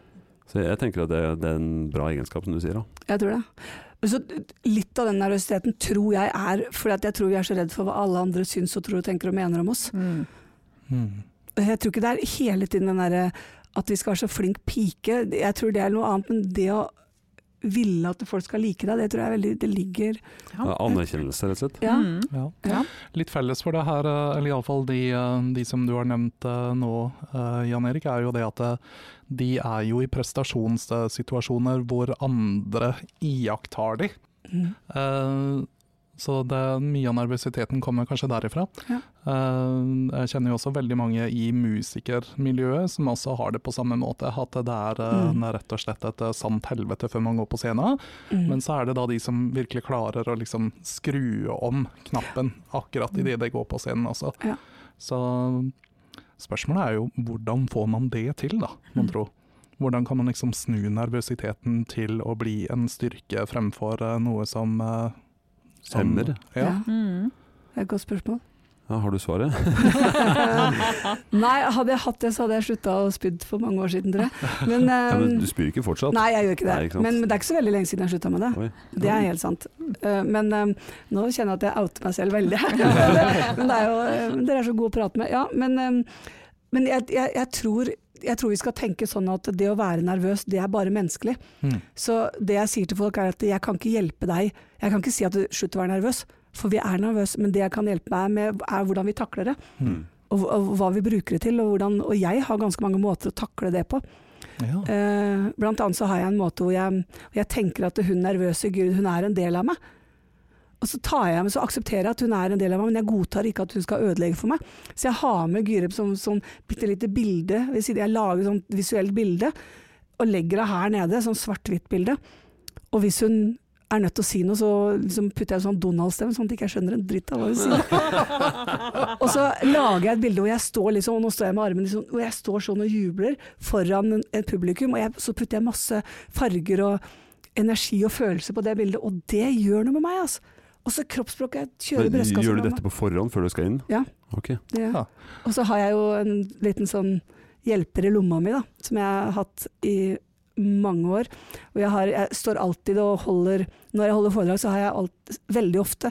Speaker 1: Så jeg tenker at det, det er en bra egenskap, som du sier. da.
Speaker 4: Jeg tror det. Men Så litt av den nervøsiteten tror jeg er fordi at jeg tror vi er så redd for hva alle andre syns og tror og tenker og mener om oss.
Speaker 3: Mm.
Speaker 2: Mm.
Speaker 4: Jeg tror ikke det er hele tiden den derre at vi skal være så flink pike. Jeg tror det er noe annet, men det å ville at folk skal like deg, det tror jeg veldig det ligger
Speaker 1: Ja, Anerkjennelse, rett og slett.
Speaker 4: Ja.
Speaker 3: Mm.
Speaker 2: Ja.
Speaker 4: Ja.
Speaker 2: Litt felles for det her, eh, eller iallfall de, eh, de som du har nevnt eh, nå, eh, Jan Erik, er jo det at eh, de er jo i prestasjonssituasjoner hvor andre iakttar de.
Speaker 4: Mm.
Speaker 2: Eh, Så det, mye av nervøsiteten kommer kanskje derifra.
Speaker 4: Ja.
Speaker 2: Eh, Jeg kjenner jo også veldig mange i musikermiljøet som også har det på samme måte. At det er, eh,
Speaker 4: Mm.
Speaker 2: det er rett og slett et eh, sant helvete før man går på scenen.
Speaker 4: Mm.
Speaker 2: Men så er det da de som virkelig klarer å liksom skru om knappen akkurat idet det går på scenen også.
Speaker 4: Mm. Ja.
Speaker 2: Så spørsmålet er jo hvordan får man det til, da,
Speaker 4: Mm.
Speaker 2: mon tro? Hvordan kan man liksom snu nervøsiteten til å bli en styrke fremfor eh, noe som, eh,
Speaker 1: Hemmer.
Speaker 2: Ja.
Speaker 4: Ja,
Speaker 3: Mm.
Speaker 4: det er et godt spørsmål. Eh,
Speaker 1: Ja, har du svaret?
Speaker 4: Nei, hadde jeg hatt det, så hadde jeg slutta å spydde for mange år siden, tror jeg. Men,
Speaker 1: Ja, men
Speaker 4: eh,
Speaker 1: du spyr ikke fortsatt?
Speaker 4: nei, jeg gjør ikke det.
Speaker 1: Nei, ikke sant.
Speaker 4: men, men det er ikke så veldig lenge siden jeg slutta med det.
Speaker 1: Oi.
Speaker 4: Det er helt sant. Eh, men eh, nå kjenner jeg at jeg outer meg selv veldig. men det er jo, eh, dere er så gode å prate med. Ja, men eh, men jeg, jeg, jeg, tror, jeg tror vi skal tenke sånn at det å være nervøs, det er bare menneskelig.
Speaker 2: Mm.
Speaker 4: Så det jeg sier til folk er at jeg kan ikke hjelpe deg, jeg kan ikke si at du slutt å være nervøs, for vi er nervøse, men det jeg kan hjelpe deg med er hvordan vi takler det.
Speaker 2: Mm.
Speaker 4: Og, og hva vi bruker det til, og, hvordan, og jeg har ganske mange måter å takle det på.
Speaker 2: Ja.
Speaker 4: Eh, blant annet så har jeg en måte hvor jeg, hvor jeg tenker at hun nervøse Gud, hun er en del av meg. Og så, tar jeg, så aksepterer jeg at hun er en del av meg, men jeg godtar ikke at hun skal ødelegge for meg. Så jeg har med Gyrep som sånn bitte lite bilde, ved siden- jeg lager sånn visuelt bilde, og legger det her nede, sånn svart-hvitt bilde. Og hvis hun er nødt til å si noe, så liksom putter jeg sånn Donald-stemme, sånn at jeg ikke skjønner en dritt av hva hun sier. og så lager jeg et bilde hvor jeg står liksom, og nå står jeg med armen liksom, og jeg står sånn og jubler foran en- et publikum, og jeg, så putter jeg masse farger og energi og følelser på det bildet, og det gjør noe med meg, altså. Og så kroppsspråket, jeg kjører
Speaker 1: Men,
Speaker 4: brystkassa
Speaker 1: gjør du
Speaker 4: med meg.
Speaker 1: dette på forhånd før du skal inn?
Speaker 4: Ja.
Speaker 1: Ok.
Speaker 4: Det.
Speaker 2: Ja.
Speaker 4: Og så har jeg jo en liten sånn hjelper i lomma mi, da, som jeg har hatt i mange år. Og jeg, har, jeg står alltid og holder Når jeg holder foredrag, så har jeg alt, veldig ofte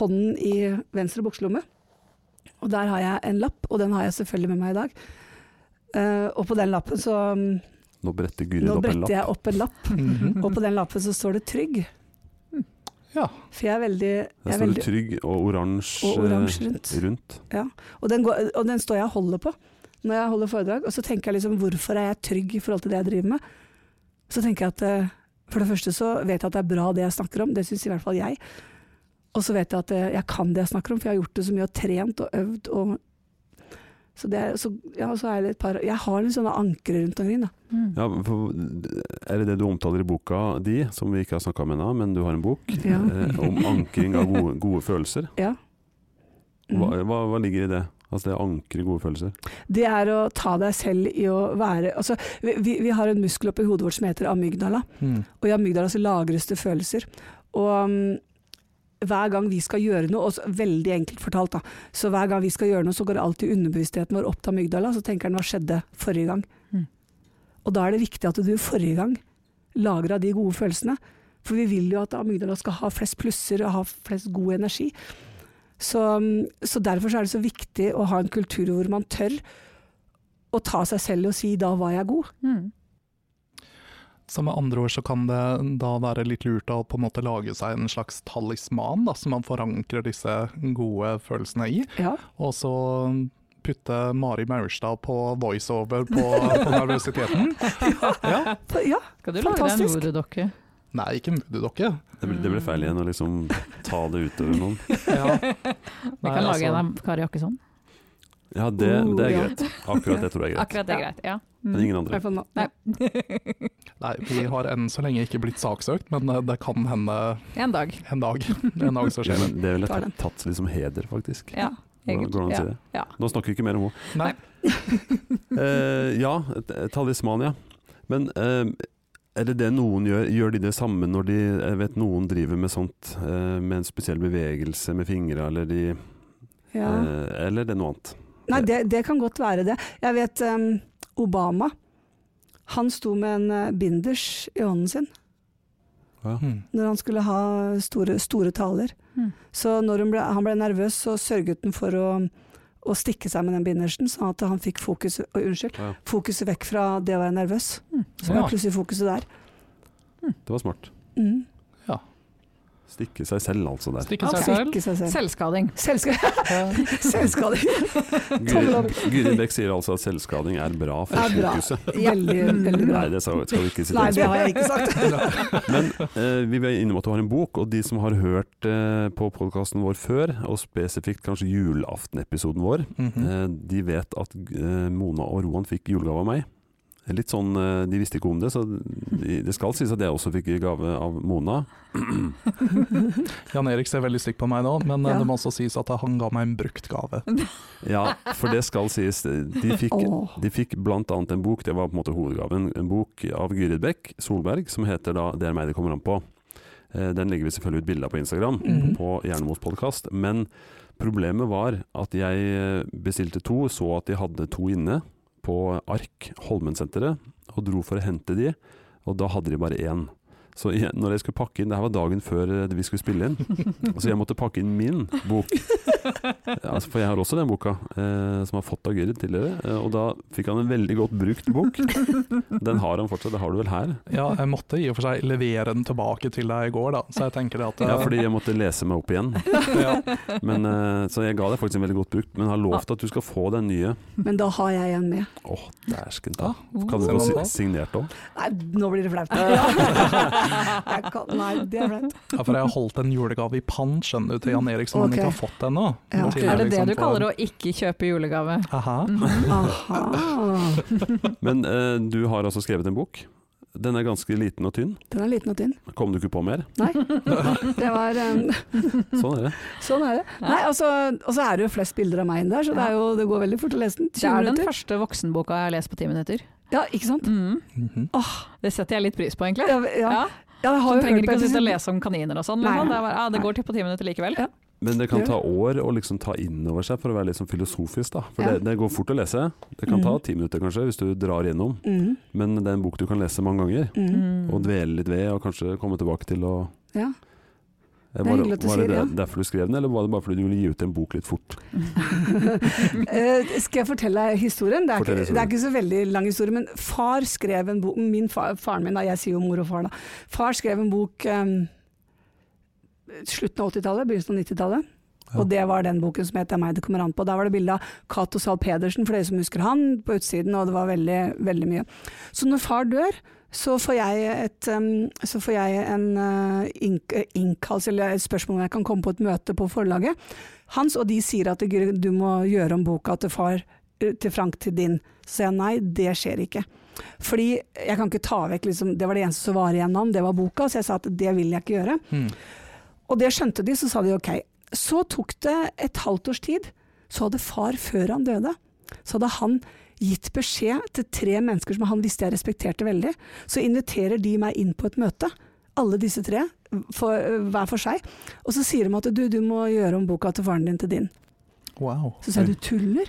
Speaker 4: hånden i venstre bukselomme. Og der har jeg en lapp, og den har jeg selvfølgelig med meg i dag. Eh, og på den lappen så mm,
Speaker 1: Nå bretter Gyrid
Speaker 4: Nå
Speaker 1: opp en
Speaker 4: bretter jeg
Speaker 1: lapp.
Speaker 4: opp en lapp,
Speaker 2: Mhm.
Speaker 4: og på den lappen så står det 'trygg'.
Speaker 2: ja.
Speaker 4: For jeg er veldig, jeg
Speaker 1: Der
Speaker 4: er
Speaker 1: står det
Speaker 4: veldig
Speaker 1: trygg og oransje
Speaker 4: Og oransje rundt.
Speaker 1: eh, rundt.
Speaker 4: Og den, går, og den står jeg og holder på når jeg holder foredrag. Og så tenker jeg liksom hvorfor er jeg trygg i forhold til det jeg driver med? Så tenker jeg at eh, for det første så vet jeg at det er bra det jeg snakker om, det syns i hvert fall jeg. Og så vet jeg at eh, jeg kan det jeg snakker om, for jeg har gjort det så mye og trent og øvd. Og så, det er, så, ja, og så er det et par Jeg har litt sånne ankre rundt omkring, da.
Speaker 3: Mm.
Speaker 1: Ja, men for, er det det du omtaler i boka di, som vi ikke har snakka om ennå, men du har en bok,
Speaker 4: Ja.
Speaker 1: eh, om ankring av gode, gode følelser?
Speaker 4: Ja. Mm.
Speaker 1: Hva, hva, hva ligger i det? Altså det å ankre gode følelser?
Speaker 4: Det er å ta deg selv i å være Altså, vi, vi, vi har en muskel oppi hodet vårt som heter amygdala.
Speaker 2: Mm.
Speaker 4: Og i amygdala så lagres det følelser. Og mm, hver gang vi skal gjøre noe, og så- veldig enkelt fortalt da, så hver gang vi skal gjøre noe, så går alltid underbevisstheten vår opp til amygdala, så tenker den hva skjedde forrige gang.
Speaker 3: Mm.
Speaker 4: Og da er det viktig at du forrige gang lagra de gode følelsene. For vi vil jo at amygdala skal ha flest plusser og ha flest god energi. Så, mm, så derfor så er det så viktig å ha en kultur hvor man tør å ta seg selv og si 'da var jeg god'.
Speaker 3: Mm.
Speaker 2: Så med andre ord så kan det da være litt lurt å på en måte lage seg en slags talisman da, som man forankrer disse gode følelsene i.
Speaker 4: Ja.
Speaker 2: Og så putte Mari Maurstad på voiceover på, på nervøsiteten. Ja.
Speaker 4: ja.
Speaker 3: Skal du lage deg en
Speaker 4: Fantastisk.
Speaker 3: voodoo-dokke?
Speaker 2: Nei, ikke mudderdokke.
Speaker 1: Det ble, det ble feil igjen å liksom ta det utover noen.
Speaker 2: Ja.
Speaker 3: Vi kan
Speaker 2: altså,
Speaker 1: altså-
Speaker 3: lage en av Kari Jakkesson.
Speaker 1: Ja, det, det er
Speaker 4: Oh, ja.
Speaker 1: greit. Akkurat det tror jeg er greit.
Speaker 3: Akkurat det er greit. Ja.
Speaker 1: Men ingen andre.
Speaker 4: I hvert fall nå.
Speaker 3: Nei.
Speaker 2: Nei, vi har enn så lenge ikke blitt saksøkt, men eh, det kan hende
Speaker 3: en dag.
Speaker 2: en dag. En dag så
Speaker 1: Ja,
Speaker 2: skjer det.
Speaker 1: men det ville
Speaker 4: Tar
Speaker 1: tatt,
Speaker 4: den.
Speaker 1: tatt litt som heder, faktisk.
Speaker 3: Ja,
Speaker 1: Hvordan
Speaker 3: egentlig.
Speaker 1: går det an å si det?
Speaker 3: Ja.
Speaker 1: Nå snakker vi ikke mer om henne.
Speaker 2: Nei.
Speaker 1: Eh, ja, t- talisman, ja. Men eh, er det det noen gjør? Gjør de det samme når de Jeg vet noen driver med sånt eh, med en spesiell bevegelse med fingra, eller de
Speaker 4: Ja.
Speaker 1: eh, Eller det er noe annet.
Speaker 4: Nei, det, det kan godt være det. Jeg vet em, Obama. Han sto med en eh, binders i hånden sin
Speaker 2: Mm.
Speaker 4: når han skulle ha store, store taler.
Speaker 3: Mm.
Speaker 4: Så når hun ble, han ble nervøs, så sørget han for å, å stikke seg med den bindersen, sånn at han fikk fokus, oi, unnskyld,
Speaker 1: Ja.
Speaker 4: fokuset vekk fra det å være nervøs. Så
Speaker 2: Ja.
Speaker 4: var plutselig fokuset der.
Speaker 1: Det var smart.
Speaker 4: Mm.
Speaker 1: Stikke seg selv, altså, der.
Speaker 2: Stikke
Speaker 4: Han
Speaker 2: seg selv.
Speaker 4: stikker seg selv.
Speaker 3: Selvskading.
Speaker 4: Selvska-
Speaker 2: Eh,
Speaker 4: Selvskading Tommel opp.
Speaker 1: Guri- Guri Bech sier altså at selvskading er bra for
Speaker 4: er bra.
Speaker 1: fokuset.
Speaker 4: Veldig, veldig bra.
Speaker 1: Nei, det sa- skal vi ikke si.
Speaker 4: Nei,
Speaker 1: til.
Speaker 4: det har jeg ikke sagt.
Speaker 1: Men eh, vi var inne på at du har en bok, og de som har hørt eh, på podkasten vår før, og spesifikt kanskje julaftenepisoden vår,
Speaker 2: mhm.
Speaker 1: eh, de vet at eh, Mona og Roan fikk julegave av meg. Litt sånn, eh, De visste ikke om det, så de, det skal sies at jeg også fikk gave av Mona.
Speaker 2: Jan Erik ser veldig stygt på meg nå, men eh,
Speaker 4: Ja.
Speaker 2: det må også sies at han ga meg en brukt gave.
Speaker 1: Ja, for det skal sies. De fikk,
Speaker 4: Åh.
Speaker 1: de fikk blant annet en bok, det var på en måte hovedgaven, en bok av Gyrid Bekk Solberg som heter da 'Det er meg det kommer an på'. Eh, Den legger vi selvfølgelig ut bilde av på Instagram,
Speaker 4: Mhm.
Speaker 1: på Jernemos podkast. Men problemet var at jeg eh, bestilte to, så at de hadde to inne på Ark Holmensenteret, og dro for å hente de, og da hadde de bare én. Så jeg, når jeg skulle pakke inn, det her var dagen før eh, vi skulle spille inn, så jeg måtte pakke inn min bok. Ja, altså, for jeg har også den boka, eh, som jeg har fått av Gyrid tidligere. Eh, og da fikk han en veldig godt brukt bok. Den har han fortsatt, det har du vel her?
Speaker 2: Ja, jeg måtte i og for seg levere den tilbake til deg i går, da, så jeg tenker det at eh,
Speaker 1: Ja, fordi jeg måtte lese meg opp igjen.
Speaker 2: ja.
Speaker 1: Men, eh, så jeg ga deg faktisk en veldig godt brukt, men har lovt at du skal få den nye.
Speaker 4: Men da har jeg en med.
Speaker 1: Åh, dæsken ta.
Speaker 4: Ah,
Speaker 1: Kan du
Speaker 2: ser
Speaker 1: få si-
Speaker 2: man da.
Speaker 1: signert om?
Speaker 4: Nei, nå blir det flaut. Jeg kan, nei, det er flaut.
Speaker 2: Ja, for jeg har holdt en julegave i pann, skjønner du, til Jan Erik som
Speaker 4: Mm.
Speaker 2: han
Speaker 4: Ok.
Speaker 2: ikke har fått ennå.
Speaker 4: Ja.
Speaker 2: Til
Speaker 3: Er det det
Speaker 2: liksom
Speaker 3: du
Speaker 2: får-
Speaker 3: kaller å ikke kjøpe julegave?
Speaker 2: Aha.
Speaker 4: Aha.
Speaker 1: Men eh, du har altså skrevet en bok. Den er ganske liten og tynn.
Speaker 4: Den er liten og tynn.
Speaker 1: Kom du ikke på mer?
Speaker 4: Nei. Det var um,
Speaker 1: Sånn er det.
Speaker 4: Sånn er det. Nei, altså, og så er det jo flest bilder av meg inn der, så det, er jo, det går veldig fort å lese den.
Speaker 3: Det
Speaker 4: 20
Speaker 3: er den
Speaker 4: minutter.
Speaker 3: første voksenboka jeg har lest på ti minutter.
Speaker 4: Ja, ikke sant?
Speaker 3: Mm.
Speaker 2: Mhm.
Speaker 3: Det setter jeg litt pris på, egentlig.
Speaker 4: Ja, ja.
Speaker 3: Ja.
Speaker 4: ja jeg
Speaker 3: Så
Speaker 4: har jo
Speaker 3: trenger
Speaker 4: hørt
Speaker 3: ikke å
Speaker 4: på
Speaker 3: sitte og
Speaker 4: episoden.
Speaker 3: lese om kaniner og sånn.
Speaker 4: Nei,
Speaker 3: Liksom.
Speaker 4: nei,
Speaker 3: Det, er bare, ja, det
Speaker 4: nei.
Speaker 3: går til på ti minutter likevel.
Speaker 4: Ja.
Speaker 1: Men det kan
Speaker 4: Gjør
Speaker 1: ta år å liksom ta innover seg for å være litt sånn filosofisk, da. For
Speaker 4: Ja.
Speaker 1: det, det går fort å lese. Det kan ta
Speaker 4: Mhm.
Speaker 1: ti minutter kanskje, hvis du drar gjennom.
Speaker 4: Mhm,
Speaker 1: Men det er en bok du kan lese mange ganger,
Speaker 4: mhm.
Speaker 3: Mm.
Speaker 1: og dvele litt ved, og kanskje komme tilbake til å
Speaker 4: Ja.
Speaker 1: Eh,
Speaker 4: er
Speaker 1: Var,
Speaker 4: hyggelig at du
Speaker 1: var det
Speaker 4: sier
Speaker 1: der- derfor du skrev den, eller var det bare fordi du ville gi ut en bok litt fort?
Speaker 4: Mm. Eh, skal jeg fortelle deg historien? Det er,
Speaker 1: Fortell
Speaker 4: ikke, det er ikke så veldig lang historie, men far skrev en bok min far, Faren min, da, jeg sier jo mor og far, da. Far skrev en bok em, slutten av 80-tallet, begynnelsen av 90-tallet.
Speaker 2: Ja.
Speaker 4: Og det var den boken som het 'Det er meg det kommer an på'. Der var det bilde av Cato Zahl Pedersen, for dere som husker han, på utsiden, og det var veldig, veldig mye. Så når far dør, så får jeg, et, em, så får jeg en eh, ink, eh, innkallelse, eller et spørsmål om jeg kan komme på et møte på forlaget hans, og de sier at Gry, du må gjøre om boka til far eh, til Frank til din. Så sier jeg nei, det skjer ikke. Fordi jeg kan ikke ta vekk liksom, Det var det eneste som var igjen av den, det var boka, så jeg sa at det vil jeg ikke gjøre.
Speaker 2: Mhm.
Speaker 4: Og det skjønte de, så sa de ok. Så tok det et halvt års tid, så hadde far, før han døde, så hadde han gitt beskjed til tre mennesker som han visste jeg respekterte veldig. Så inviterer de meg inn på et møte, alle disse tre, for, eh, hver for seg. Og så sier de at du, du må gjøre om boka til faren din til din.
Speaker 2: Wow.
Speaker 4: Så sa jeg du tuller?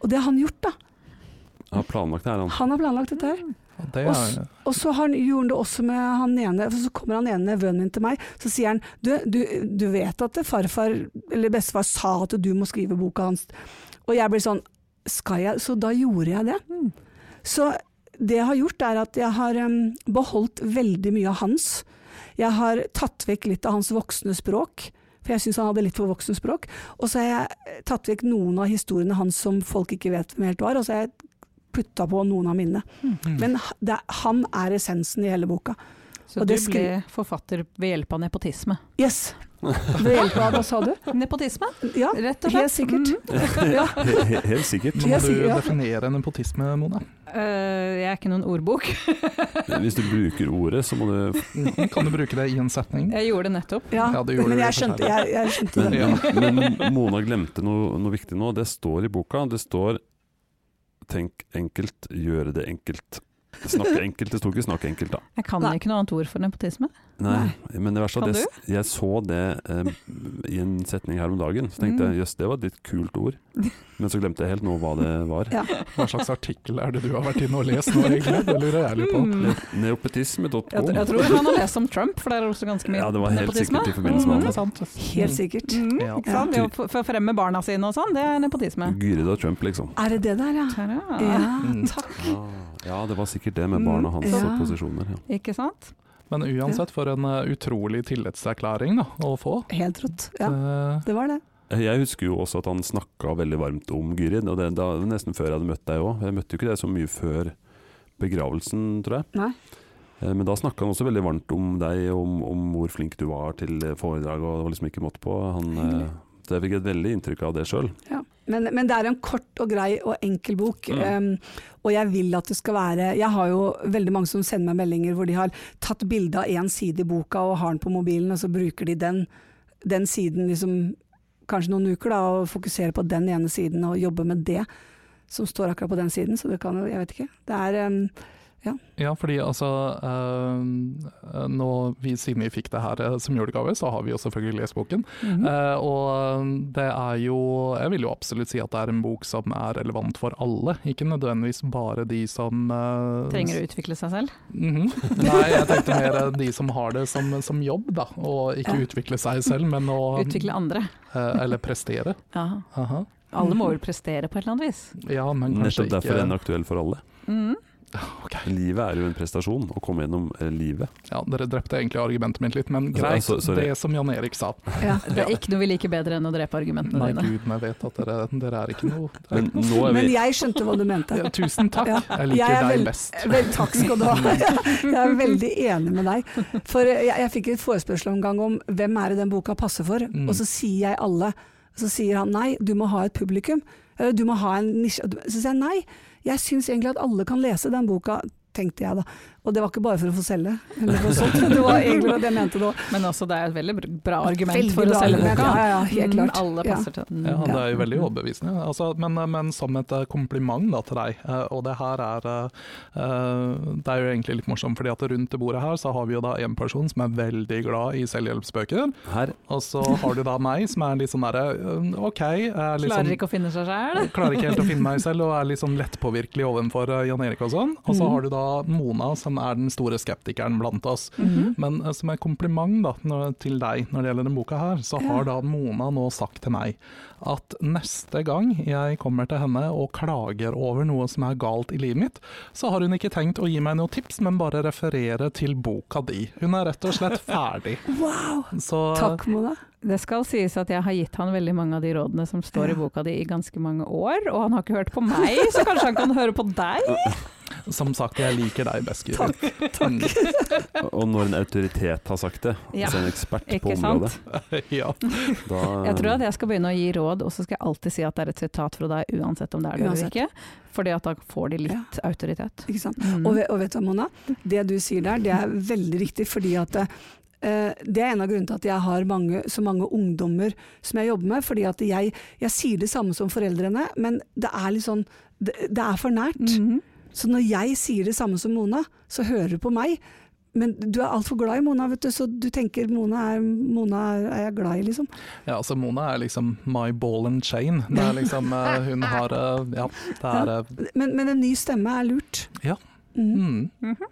Speaker 4: Og det har han gjort, da.
Speaker 1: Jeg har planlagt det her, han.
Speaker 4: Han har planlagt dette her.
Speaker 2: Og Det
Speaker 4: Og s-
Speaker 2: er,
Speaker 4: Og så har han, gjorde han det også med han ene, for så kommer han ene nevøen min til meg, så sier han du, du, du vet at det farfar, eller bestefar, sa at du må skrive boka hans. Og jeg blir sånn, skal jeg? Så da gjorde jeg det. Så det jeg har gjort er at jeg har em, beholdt veldig mye av hans. Jeg har tatt vekk litt av hans voksne språk, for jeg syns han hadde litt for voksent språk. Og så har jeg eh, tatt vekk noen av historiene hans som folk ikke vet hvem helt var, og så har jeg putta på noen av mine.
Speaker 2: Mm.
Speaker 4: Men h- det, er- han er essensen i hele boka.
Speaker 3: Så
Speaker 4: og
Speaker 3: du
Speaker 4: det skri-
Speaker 3: ble forfatter ved hjelp av nepotisme.
Speaker 4: Yes! Ved hjelp av Hva sa du?
Speaker 3: Nepotisme,
Speaker 4: Ja,
Speaker 3: rett og slett.
Speaker 4: helt sikkert.
Speaker 3: Mm.
Speaker 4: Ja.
Speaker 1: He- he- Helt sikkert.
Speaker 2: Nå
Speaker 4: Jeg
Speaker 2: må du
Speaker 4: sier ja.
Speaker 2: definere nepotisme, Mona.
Speaker 3: Eh, jeg er ikke noen ordbok.
Speaker 1: Hvis du bruker ordet, så må du
Speaker 2: Mhm. Kan du bruke det i en setning?
Speaker 3: Jeg gjorde det nettopp.
Speaker 2: Ja,
Speaker 4: ja.
Speaker 2: det gjorde
Speaker 4: Men
Speaker 2: du for
Speaker 4: jeg
Speaker 2: seg.
Speaker 4: skjønte, jeg, jeg skjønte
Speaker 1: Men, men,
Speaker 4: det.
Speaker 1: men Mona glemte noe, noe viktig nå. Det står i boka. Det står 'tenk enkelt, gjøre det enkelt'. Snakke enkelt. Det sto ikke 'snakk enkelt', da.
Speaker 3: Jeg kan
Speaker 4: Nei.
Speaker 3: ikke noe annet ord for nepotisme.
Speaker 1: Nei, men det verste er at
Speaker 3: Kan
Speaker 1: jeg, jeg så det eh, i en setning her om dagen. Så tenkte jeg
Speaker 3: Mm.
Speaker 1: jøss, det var et litt kult ord. Men så glemte jeg helt nå hva det var.
Speaker 2: Hva slags artikkel er det du har vært inne og lest nå, egentlig? Det lurer jeg litt på.
Speaker 3: Mm.
Speaker 1: Ne- Neopetisme.com.
Speaker 3: Jeg, jeg tror han har lest om Trump, for det er også ganske mye
Speaker 1: Ja, det var helt
Speaker 3: nepotisme.
Speaker 1: sikkert i forbindelse med
Speaker 3: Mhm.
Speaker 1: han.
Speaker 2: Ikke sant?
Speaker 4: Helt sikkert.
Speaker 3: Mhm,
Speaker 2: Ja.
Speaker 3: Ikke sant? Det å f- forfremme barna sine og sånn, det er nepotisme.
Speaker 1: Gyrid og Trump, liksom.
Speaker 4: Er det det der, ja?
Speaker 3: Ja,
Speaker 4: Ja, takk.
Speaker 2: Mm.
Speaker 3: Ah,
Speaker 1: Ja, det var sikkert det med barna hans
Speaker 4: Ja.
Speaker 3: Mm.
Speaker 1: og posisjoner. Ja.
Speaker 3: Ikke sant?
Speaker 2: Men uansett, for en eh, utrolig tillitserklæring da, å få.
Speaker 4: Helt rått. Ja,
Speaker 2: Eh,
Speaker 4: det var det.
Speaker 1: Jeg husker jo også at han snakka veldig varmt om Gyrid, og det, da, nesten før jeg hadde møtt deg òg. Jeg møtte jo ikke deg så mye før begravelsen, tror jeg.
Speaker 4: Nei.
Speaker 1: Eh, Men da snakka han også veldig varmt om deg, om, om hvor flink du var til foredrag, og det var liksom ikke måte på. Han, eh, så jeg fikk et veldig inntrykk av det sjøl.
Speaker 4: Ja. Men, men det er en kort og grei og enkel bok.
Speaker 1: Mm.
Speaker 4: em, og jeg vil at det skal være Jeg har jo veldig mange som sender meg meldinger hvor de har tatt bilde av én side i boka og har den på mobilen, og så bruker de den, den siden liksom, kanskje noen uker, da, og fokuserer på den ene siden og jobber med det som står akkurat på den siden. Så det kan jo Jeg vet ikke. Det er ehm, em,
Speaker 2: ja, fordi altså eh, Nå, vi, siden vi fikk det her eh, som julegave, så har vi jo selvfølgelig lest boken.
Speaker 3: Mm.
Speaker 4: Mm.
Speaker 2: Eh, og det er jo Jeg vil jo absolutt si at det er en bok som er relevant for alle, ikke nødvendigvis bare de som eh,
Speaker 3: Trenger å utvikle seg selv.
Speaker 2: Mhm. Nei, jeg tenkte mer eh, de som har det som, som jobb, da. Og ikke
Speaker 4: Ja.
Speaker 2: utvikle seg selv, men å
Speaker 3: Utvikle andre.
Speaker 2: eh, Eller prestere.
Speaker 3: Ja.
Speaker 2: Aha.
Speaker 3: Alle må vel prestere på et eller annet vis.
Speaker 2: Ja, men kanskje
Speaker 1: Nettopp derfor er den
Speaker 2: ikke
Speaker 1: aktuell for alle.
Speaker 3: Mhm.
Speaker 2: Ok.
Speaker 1: Livet er jo en prestasjon, å komme gjennom eh, livet.
Speaker 2: Ja, Dere drepte egentlig argumentet mitt litt, men
Speaker 1: Ja,
Speaker 2: greit.
Speaker 1: så- sorry.
Speaker 2: det som Jan Erik sa.
Speaker 4: ja.
Speaker 3: Det er ikke noe vi liker bedre enn å drepe argumentene
Speaker 2: Nei,
Speaker 3: dine.
Speaker 2: gud, men jeg vet at dere, dere er ikke noe dere er
Speaker 1: Men nå er
Speaker 4: Men
Speaker 1: vi
Speaker 4: jeg skjønte hva du mente.
Speaker 2: ikke- ja, Tusen takk,
Speaker 4: Ja.
Speaker 2: jeg
Speaker 4: Jeg
Speaker 2: liker
Speaker 4: er
Speaker 2: deg
Speaker 4: vel-
Speaker 2: best.
Speaker 4: Eh, Vel, takk skal du ha. Jeg er veldig enig med deg. For eh, jeg, jeg fikk et forespørsel en gang om hvem er det den boka passer for,
Speaker 2: Mm.
Speaker 4: og så sier jeg alle. Så sier han nei, du må ha et publikum. Eller du må ha en nisje. Og du- Så sier jeg nei, jeg syns egentlig at alle kan lese den boka, tenkte jeg da. Og det var ikke bare for å få selge, eller noe sånt. Det var egentlig det jeg mente da.
Speaker 3: Men også det er et veldig br- bra argument
Speaker 4: Veldig
Speaker 3: for
Speaker 4: bra
Speaker 3: å selge
Speaker 4: argument,
Speaker 3: boka.
Speaker 4: Ja, ja, ja, helt
Speaker 3: Mm,
Speaker 4: klart.
Speaker 3: Alle
Speaker 4: Ja.
Speaker 3: passer til den.
Speaker 2: Ja, det er jo veldig
Speaker 3: Mm.
Speaker 2: overbevisende. Altså, men, men som et eh, kompliment da, til deg, eh, og det her er eh, eh, Det er jo egentlig litt morsomt, fordi at rundt det bordet her så har vi jo da en person som er veldig glad i selvhjelpsbøker,
Speaker 1: her.
Speaker 2: og så har du da meg som er litt sånn derre eh, OK, jeg er litt
Speaker 3: Klarer
Speaker 2: sånn
Speaker 3: ikke å finne seg sjæl.
Speaker 2: jeg klarer ikke helt å finne meg selv og er litt sånn lettpåvirkelig overfor eh, Jan Erik og sånn. Og så
Speaker 3: Mm.
Speaker 4: Mhm.
Speaker 2: har du da Mona som er den store skeptikeren blant oss.
Speaker 4: Mhm.
Speaker 3: Mm.
Speaker 2: Men eh, som et kompliment da, når, til deg når det gjelder denne boka, her, så har da Mona nå sagt til meg at neste gang jeg kommer til henne og klager over noe som er galt i livet mitt, så har hun ikke tenkt å gi meg noe tips, men bare referere til boka di. Hun er rett og slett ferdig.
Speaker 4: Wow!
Speaker 2: Så
Speaker 4: Takk, Mona.
Speaker 3: Det skal sies at jeg har gitt han veldig mange av de rådene som står i boka di i ganske mange år, og han har ikke hørt på meg, så kanskje han kan høre på deg?
Speaker 2: som sagt, jeg liker deg best, Guri.
Speaker 4: Takk,
Speaker 2: takk.
Speaker 1: Og når en autoritet har sagt det,
Speaker 3: Ja,
Speaker 1: altså en ekspert på
Speaker 3: Ikke sant?
Speaker 1: området,
Speaker 2: Mm. ja.
Speaker 1: da
Speaker 3: Jeg tror at jeg skal begynne å gi råd, og så skal jeg alltid si at det er et sitat fra deg, uansett om det er det eller
Speaker 4: Uansett.
Speaker 3: ikke. Fordi at da får de litt autoritet.
Speaker 4: Ikke sant?
Speaker 3: Mm.
Speaker 4: Og, ve- og vet du hva, Mona? Det du sier der, det er veldig riktig. fordi at eh, Det er en av grunnene til at jeg har mange, så mange ungdommer som jeg jobber med. fordi at jeg, jeg sier det samme som foreldrene, men det er litt sånn Det, det er for nært.
Speaker 3: Mhm.
Speaker 4: Så når jeg sier det samme som Mona, så hører du på meg. Men du er altfor glad i Mona, vet du, så du tenker Mona er, Mona er, er jeg glad i, liksom.
Speaker 2: Ja, altså Mona er liksom my ball and chain. Det er liksom, eh, hun har eh, Ja, det er eh,
Speaker 4: Men, men en ny stemme er lurt.
Speaker 2: Ja.
Speaker 4: Mm.
Speaker 2: mm.
Speaker 3: Mhm.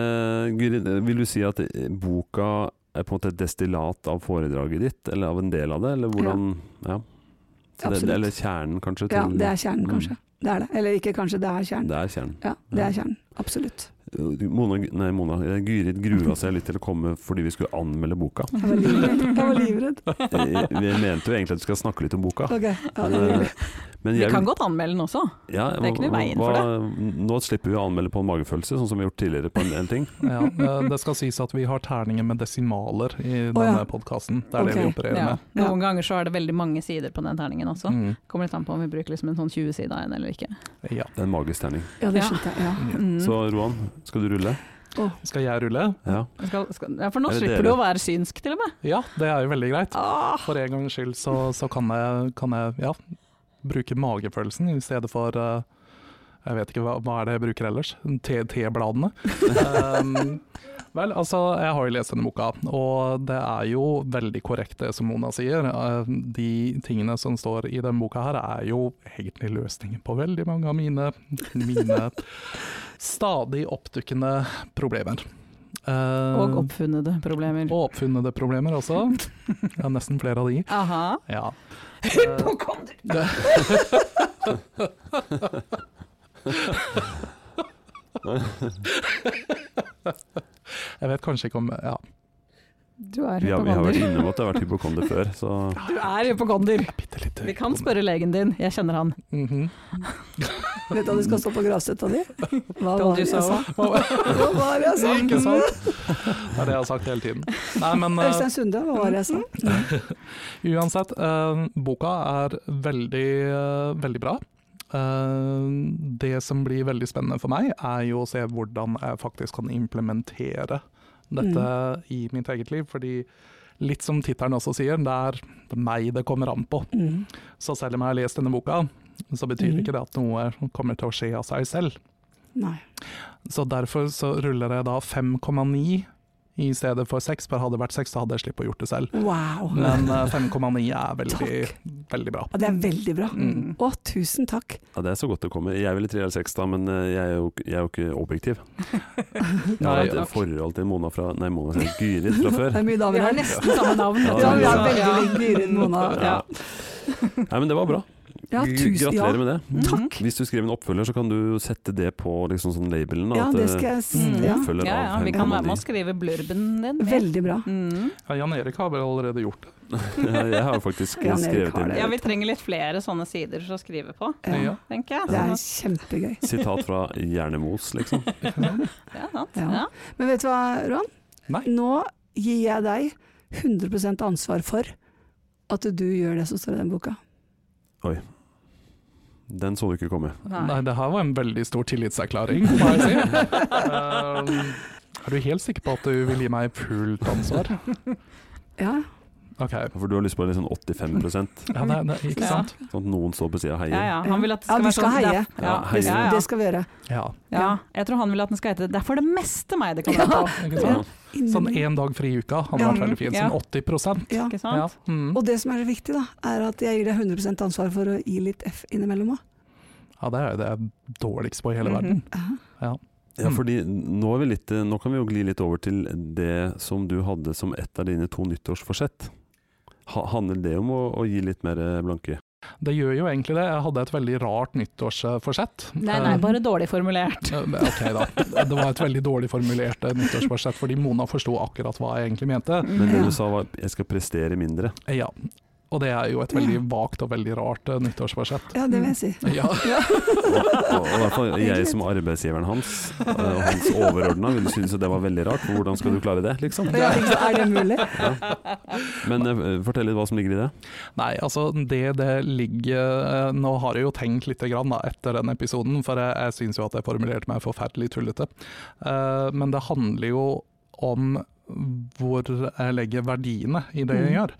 Speaker 1: Eh, Gyrid, vil du si at eh, boka er på en måte et destillat av foredraget ditt, eller av en del av det, eller hvordan Ja. Så Det,
Speaker 4: Absolutt.
Speaker 1: det, eller kjernen, kanskje?
Speaker 4: Ja,
Speaker 1: til-
Speaker 4: det er kjernen,
Speaker 1: Mm.
Speaker 4: kanskje. Det er det. Eller ikke kanskje, det er kjernen.
Speaker 1: det er kjernen.
Speaker 4: Ja, det er kjernen. Absolutt.
Speaker 1: Eh, Mona, nei, Mona, eh, Gyrid grua seg litt til å komme fordi vi skulle anmelde boka.
Speaker 4: Jeg var livredd. Jeg var livredd.
Speaker 1: Eh, Vi mente jo egentlig at du skal snakke litt om boka.
Speaker 4: Ok, ja, det
Speaker 1: Men, eh,
Speaker 4: gjør vi.
Speaker 1: men
Speaker 3: Vi
Speaker 1: jeg
Speaker 3: kan
Speaker 1: vil-
Speaker 3: godt anmelde den også.
Speaker 1: ja,
Speaker 3: det er ikke noe i veien for
Speaker 1: det. Nå slipper vi å anmelde på en magefølelse, sånn som vi har gjort tidligere på en del ting.
Speaker 2: Ja, eh, det skal sies at vi har terninger med desimaler i denne
Speaker 4: Å, ja.
Speaker 2: podkasten. Det er det
Speaker 4: Ok,
Speaker 2: vi opererer
Speaker 3: Ja.
Speaker 2: med.
Speaker 3: Noen ganger så er det veldig mange sider på den terningen også.
Speaker 2: Mm.
Speaker 3: Kommer litt an på om vi bruker liksom en sånn 20-sida en eller ikke.
Speaker 2: Ja.
Speaker 1: Det er en magisk terning.
Speaker 4: Ja, det
Speaker 3: Ja.
Speaker 4: skjønte jeg. Ja.
Speaker 3: Mm.
Speaker 1: Så Roan, skal du rulle?
Speaker 2: Skal jeg rulle?
Speaker 1: Ja.
Speaker 3: Skal, skal, ja, for nå
Speaker 1: Er det
Speaker 3: slipper
Speaker 1: dere?
Speaker 3: du å være synsk, til og med.
Speaker 2: Ja, det er jo veldig greit.
Speaker 3: Ah,
Speaker 2: For en gangs skyld så, så kan, jeg, kan jeg ja, bruke magefølelsen i stedet for eh, Jeg vet ikke hva, hva er det jeg bruker ellers? T-bladene. Um, vel, altså, jeg har jo lest denne boka, og det er jo veldig korrekt det som Mona sier. Eh, De tingene som står i denne boka her, er jo egentlig løsningen på veldig mange av mine, mine stadig oppdukkende problemer. Eh,
Speaker 3: og oppfunnede problemer.
Speaker 2: og oppfunnede problemer også. Det er nesten flere av de.
Speaker 3: Aha.
Speaker 2: Ja.
Speaker 3: Nå kom du!
Speaker 2: Eh, Jeg vet kanskje ikke om ja.
Speaker 3: Du er
Speaker 1: Vi har, vi har vært
Speaker 3: hypokonder.
Speaker 1: innom at jeg har vært hypokonder før, så
Speaker 3: Du er hypokonder!
Speaker 2: Bitte litt
Speaker 3: Vi kan spørre legen din, jeg kjenner han.
Speaker 2: Mhm.
Speaker 4: Vet du hva du skal stå på gravstøtta di? Hva
Speaker 3: Told you
Speaker 4: var det
Speaker 3: so.
Speaker 4: jeg sa? Hva var sånn. det uh, jeg sa?
Speaker 2: Ikke sant? Det er det jeg har sagt hele tiden. Nei, men eh,
Speaker 4: Øystein Sunde, hva var det jeg sa?
Speaker 2: Uansett, eh, boka er veldig, eh, veldig bra. Eh, det som blir veldig spennende for meg, er jo å se hvordan jeg faktisk kan implementere dette
Speaker 4: Mm.
Speaker 2: i mitt eget liv. Fordi litt som tittelen også sier, det er meg det kommer an på.
Speaker 4: Mm.
Speaker 2: Så selv om jeg har lest denne boka, så betyr
Speaker 4: Mhm.
Speaker 2: ikke det at noe kommer til å skje av seg selv.
Speaker 4: Nei.
Speaker 2: Så derfor så ruller jeg da 5,9 i stedet for 6, for hadde det vært 6, så hadde jeg sluppet å gjort det selv.
Speaker 4: Wow.
Speaker 2: Men eh, 5,9 er veldig,
Speaker 4: Takk.
Speaker 2: veldig bra.
Speaker 4: Ja, det er veldig bra.
Speaker 2: Mm.
Speaker 4: Å, tusen takk.
Speaker 1: ja, det er så godt det kommer. Jeg ville tre eller seks da, men eh, jeg er jo, jeg er jo ikke objektiv. Jeg har
Speaker 2: Nei,
Speaker 1: hatt
Speaker 2: ja.
Speaker 1: et forhold til Mona fra Nei, Mona sier Gyrid fra
Speaker 4: Det
Speaker 1: før.
Speaker 4: er mye
Speaker 3: Vi
Speaker 4: damer
Speaker 3: har
Speaker 4: her.
Speaker 3: nesten samme navn.
Speaker 1: Ja,
Speaker 3: vet du.
Speaker 4: Ja,
Speaker 3: Så-
Speaker 4: vi er veldig
Speaker 3: Ja.
Speaker 4: litt dyrere enn Mona.
Speaker 1: Ja. Nei, men det var bra.
Speaker 4: Ja,
Speaker 1: G-
Speaker 4: tusen, ja.
Speaker 1: Gratulerer med det.
Speaker 3: Mhm.
Speaker 4: Takk.
Speaker 1: Hvis du skriver en oppfølger, så kan du sette det på liksom sånn labelen. da,
Speaker 4: Ja,
Speaker 1: at,
Speaker 4: det
Speaker 1: eh,
Speaker 4: skal jeg si.
Speaker 3: Mm.
Speaker 4: Ja.
Speaker 1: Oppfølger
Speaker 3: Ja, ja,
Speaker 1: av
Speaker 3: vi kan være
Speaker 1: 5,9.
Speaker 3: med og skrive blurben din. med.
Speaker 4: Veldig bra.
Speaker 3: Mm.
Speaker 2: Ja, Jan Erik har vel allerede gjort det.
Speaker 1: Ja, jeg har jo faktisk
Speaker 4: Jan Erik
Speaker 1: skrevet
Speaker 4: har
Speaker 1: inn
Speaker 4: det.
Speaker 3: Ja, vi trenger litt flere sånne sider å skrive på,
Speaker 4: Ja.
Speaker 3: tenker jeg.
Speaker 4: Det er
Speaker 3: Så-
Speaker 4: kjempegøy.
Speaker 1: sitat fra Hjernemos, liksom.
Speaker 3: Ja, sant.
Speaker 4: Ja.
Speaker 3: Ja.
Speaker 4: Men vet du hva, Roan?
Speaker 2: Nei.
Speaker 4: Nå gir jeg deg 100 ansvar for at du gjør det som står i den boka.
Speaker 1: Den så du ikke komme.
Speaker 2: Nei,
Speaker 3: Nei.
Speaker 2: det her var en veldig stor tillitserklaring, må jeg si. Ehm, er du helt sikker på at du vil gi meg fullt ansvar?
Speaker 4: Ja,
Speaker 2: Ok, ja,
Speaker 1: For du har lyst på litt sånn 85
Speaker 2: det, det, ikke
Speaker 3: Ja.
Speaker 2: sant?
Speaker 1: sånn at noen står på sida og heier.
Speaker 3: Ja, ja. Han vil at det
Speaker 4: Ja,
Speaker 3: skal
Speaker 4: vi
Speaker 3: være
Speaker 4: skal
Speaker 3: sånn.
Speaker 4: heie.
Speaker 3: det er- Ja,
Speaker 1: Ja,
Speaker 4: Det,
Speaker 1: heie.
Speaker 3: ja, ja.
Speaker 4: det skal vi gjøre.
Speaker 2: Ja,
Speaker 3: ja, jeg tror han vil at den skal hete 'Det er for det meste meg det kommer an på'.
Speaker 2: ikke
Speaker 1: Ja.
Speaker 2: sant? Sånn én dag fri i uka hadde
Speaker 4: Ja.
Speaker 2: vært veldig fint.
Speaker 3: Ja.
Speaker 2: Sånn 80
Speaker 4: Ja.
Speaker 3: Ikke sant?
Speaker 2: ja. Mm.
Speaker 4: Og det som er så viktig, da, er at jeg gir deg 100 ansvar for å gi litt F innimellom òg.
Speaker 2: ja, det er jo det jeg er dårligst på i
Speaker 3: Mhm.
Speaker 2: hele verden.
Speaker 4: Mm.
Speaker 1: Ja, fordi nå, er vi litt, nå kan vi jo gli litt over til det som du hadde som et av dine to nyttårsforsett. Ha, handler det om å, å gi litt mer eh, blanke?
Speaker 2: Det gjør jo egentlig det. Jeg hadde et veldig rart nyttårsforsett.
Speaker 3: Nei, nei, bare dårlig formulert.
Speaker 2: Eh, Um, men Ok da, det var et veldig dårlig formulert eh, nyttårsforsett, fordi Mona forsto akkurat hva jeg egentlig mente.
Speaker 1: Men det
Speaker 4: Ja.
Speaker 1: du sa var 'jeg skal prestere mindre'.
Speaker 2: Eh, Ja, og det er jo et veldig vagt og veldig rart eh, nyttårsforsett.
Speaker 4: Ja, det vil jeg si.
Speaker 2: Ja,
Speaker 1: Og, og, og i hvert fall jeg som arbeidsgiveren hans eh, og hans overordna ville synes at det var veldig rart. for Hvordan skal du klare det, liksom?
Speaker 4: Ja, ikke sant? Er det mulig?
Speaker 1: Men eh, fortell litt hva som ligger i det.
Speaker 2: Nei, altså det det ligger eh, Nå har jeg jo tenkt litt grann, da, etter den episoden, for jeg, jeg syns jo at jeg formulerte meg forferdelig tullete. Eh, men det handler jo om hvor jeg legger verdiene i det jeg gjør.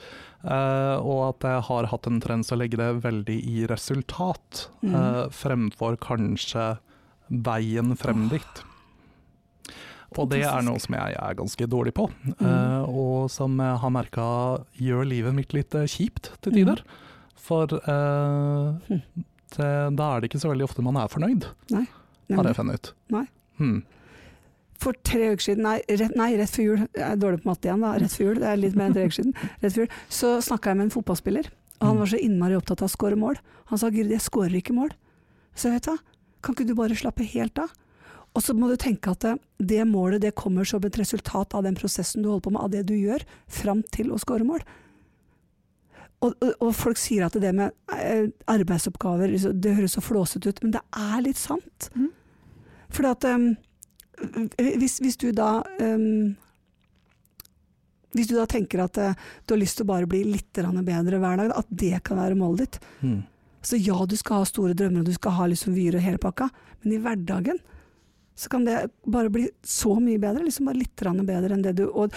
Speaker 2: Eh, og at jeg har hatt en trend til å legge det veldig i resultat,
Speaker 4: Mm.
Speaker 2: eh, fremfor kanskje veien frem dit. Og det er noe som jeg er ganske dårlig på, eh,
Speaker 4: Mm.
Speaker 2: og som jeg har merka gjør livet mitt litt eh, kjipt til tider.
Speaker 4: Mm.
Speaker 2: For eh,
Speaker 4: Hm.
Speaker 2: det, da er det ikke så veldig ofte man er fornøyd,
Speaker 4: Mm.
Speaker 2: har jeg funnet ut.
Speaker 4: Nei.
Speaker 2: Hmm.
Speaker 4: For tre uker siden, nei rett, nei, rett før jul, jeg er dårlig på matte igjen da, rett før jul, det er litt mer enn tre uker siden, rett før jul, så snakka jeg med en fotballspiller, og han var så innmari opptatt av å skåre mål. Han sa Gyrd, jeg skårer ikke mål. Så vet du hva, kan ikke du bare slappe helt av? Og så må du tenke at eh, det målet det kommer som et resultat av den prosessen du holder på med, av det du gjør fram til å skåre mål. Og, og, og folk sier at det med eh, arbeidsoppgaver, liksom, det høres så flåsete ut, men det er litt sant.
Speaker 3: Mhm.
Speaker 4: Fordi at eh, hvis, hvis du da ehm, Hvis du da tenker at eh, du har lyst til å bare bli litt grann bedre hver dag, at det kan være målet ditt.
Speaker 2: Hmm.
Speaker 4: Så ja, du skal ha store drømmer og du skal ha liksom vyer og hele pakka, men i hverdagen så kan det bare bli så mye bedre. liksom Bare litt grann bedre enn det du Og,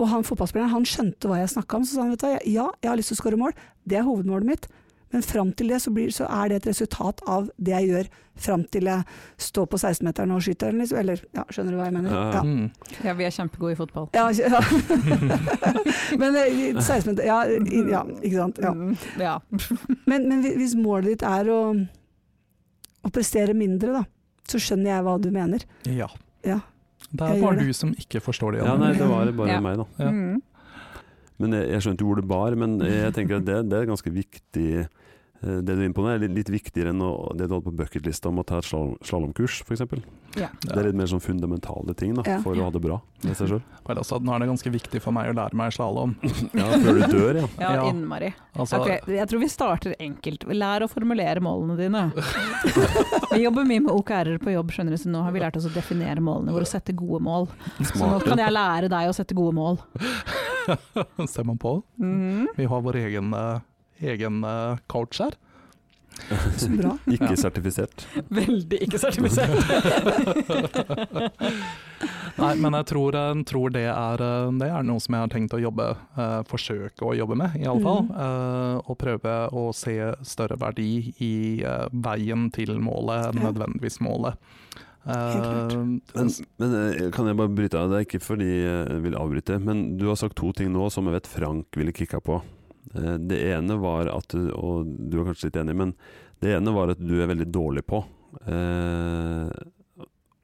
Speaker 4: og han fotballspilleren han skjønte hva jeg snakka om, så sa han vet du hva, ja, jeg har lyst til å skåre mål, det er hovedmålet mitt. Men fram til det så, blir, så er det et resultat av det jeg gjør fram til jeg står på 16-meteren og skyter, eller liksom. Eller ja, skjønner du hva jeg mener?
Speaker 1: Ja, ja.
Speaker 4: Ja.
Speaker 2: Hmm.
Speaker 3: Ja, vi er kjempegode i fotball.
Speaker 4: Ja, ikke- ja. men eh, 16 minutter ja, i- ja, ikke sant. Ja.
Speaker 3: Mm, ja.
Speaker 4: Men, men hvi- hvis målet ditt er å, å prestere mindre, da, så skjønner jeg hva du mener.
Speaker 2: Ja.
Speaker 4: Ja.
Speaker 2: Det
Speaker 4: Jeg
Speaker 2: er
Speaker 4: gjør
Speaker 2: bare
Speaker 4: det.
Speaker 2: du som ikke forstår det.
Speaker 1: Ja,
Speaker 2: Jan.
Speaker 1: nei, det var bare
Speaker 3: Ja.
Speaker 1: meg, da.
Speaker 2: Ja.
Speaker 3: Mm.
Speaker 1: Men jeg, jeg skjønte jo hvor det bar, men jeg tenker at det, det er ganske viktig eh, eh, det du er inne på nå, er litt, litt viktigere enn å, det du hadde på bucketlista om å ta et slalåmkurs, f.eks. Det er litt mer sånn fundamentale ting da,
Speaker 4: Ja.
Speaker 1: for å ha det bra med seg sjøl.
Speaker 2: Vel, altså, nå er det ganske viktig for meg å lære meg slalåm.
Speaker 1: Ja, før du dør, ja.
Speaker 3: Ja,
Speaker 2: Ja.
Speaker 3: innmari.
Speaker 2: Altså,
Speaker 3: Ok, jeg tror vi starter enkelt. Lær å formulere målene dine. Vi jobber mye med OKR-er på jobb, skjønner du, så nå har vi lært oss å definere målene våre og sette gode mål. Så nå
Speaker 1: Smart.
Speaker 3: kan jeg lære deg å sette gode mål.
Speaker 2: Ser man på?
Speaker 3: Mhm.
Speaker 2: Vi har vår egen, eh, egen eh, coach her.
Speaker 4: Så bra.
Speaker 1: Ikke sertifisert.
Speaker 3: Veldig ikke sertifisert.
Speaker 2: Nei, men jeg tror, jeg tror det, er, eh, det er noe som jeg har tenkt å jobbe, eh, forsøke å jobbe med, iallfall.
Speaker 4: Mhm.
Speaker 2: Eh, og prøve å se større verdi i eh, veien til målet enn
Speaker 4: Ja.
Speaker 2: nødvendigvis målet.
Speaker 4: Helt
Speaker 2: Eh,
Speaker 1: Men, men eh, kan jeg bare bryte av? Det er ikke fordi jeg vil avbryte, men du har sagt to ting nå som jeg vet Frank ville kicka på. Eh, Det ene var at du- Og du er kanskje litt enig, men det ene var at du er veldig dårlig på. Eh,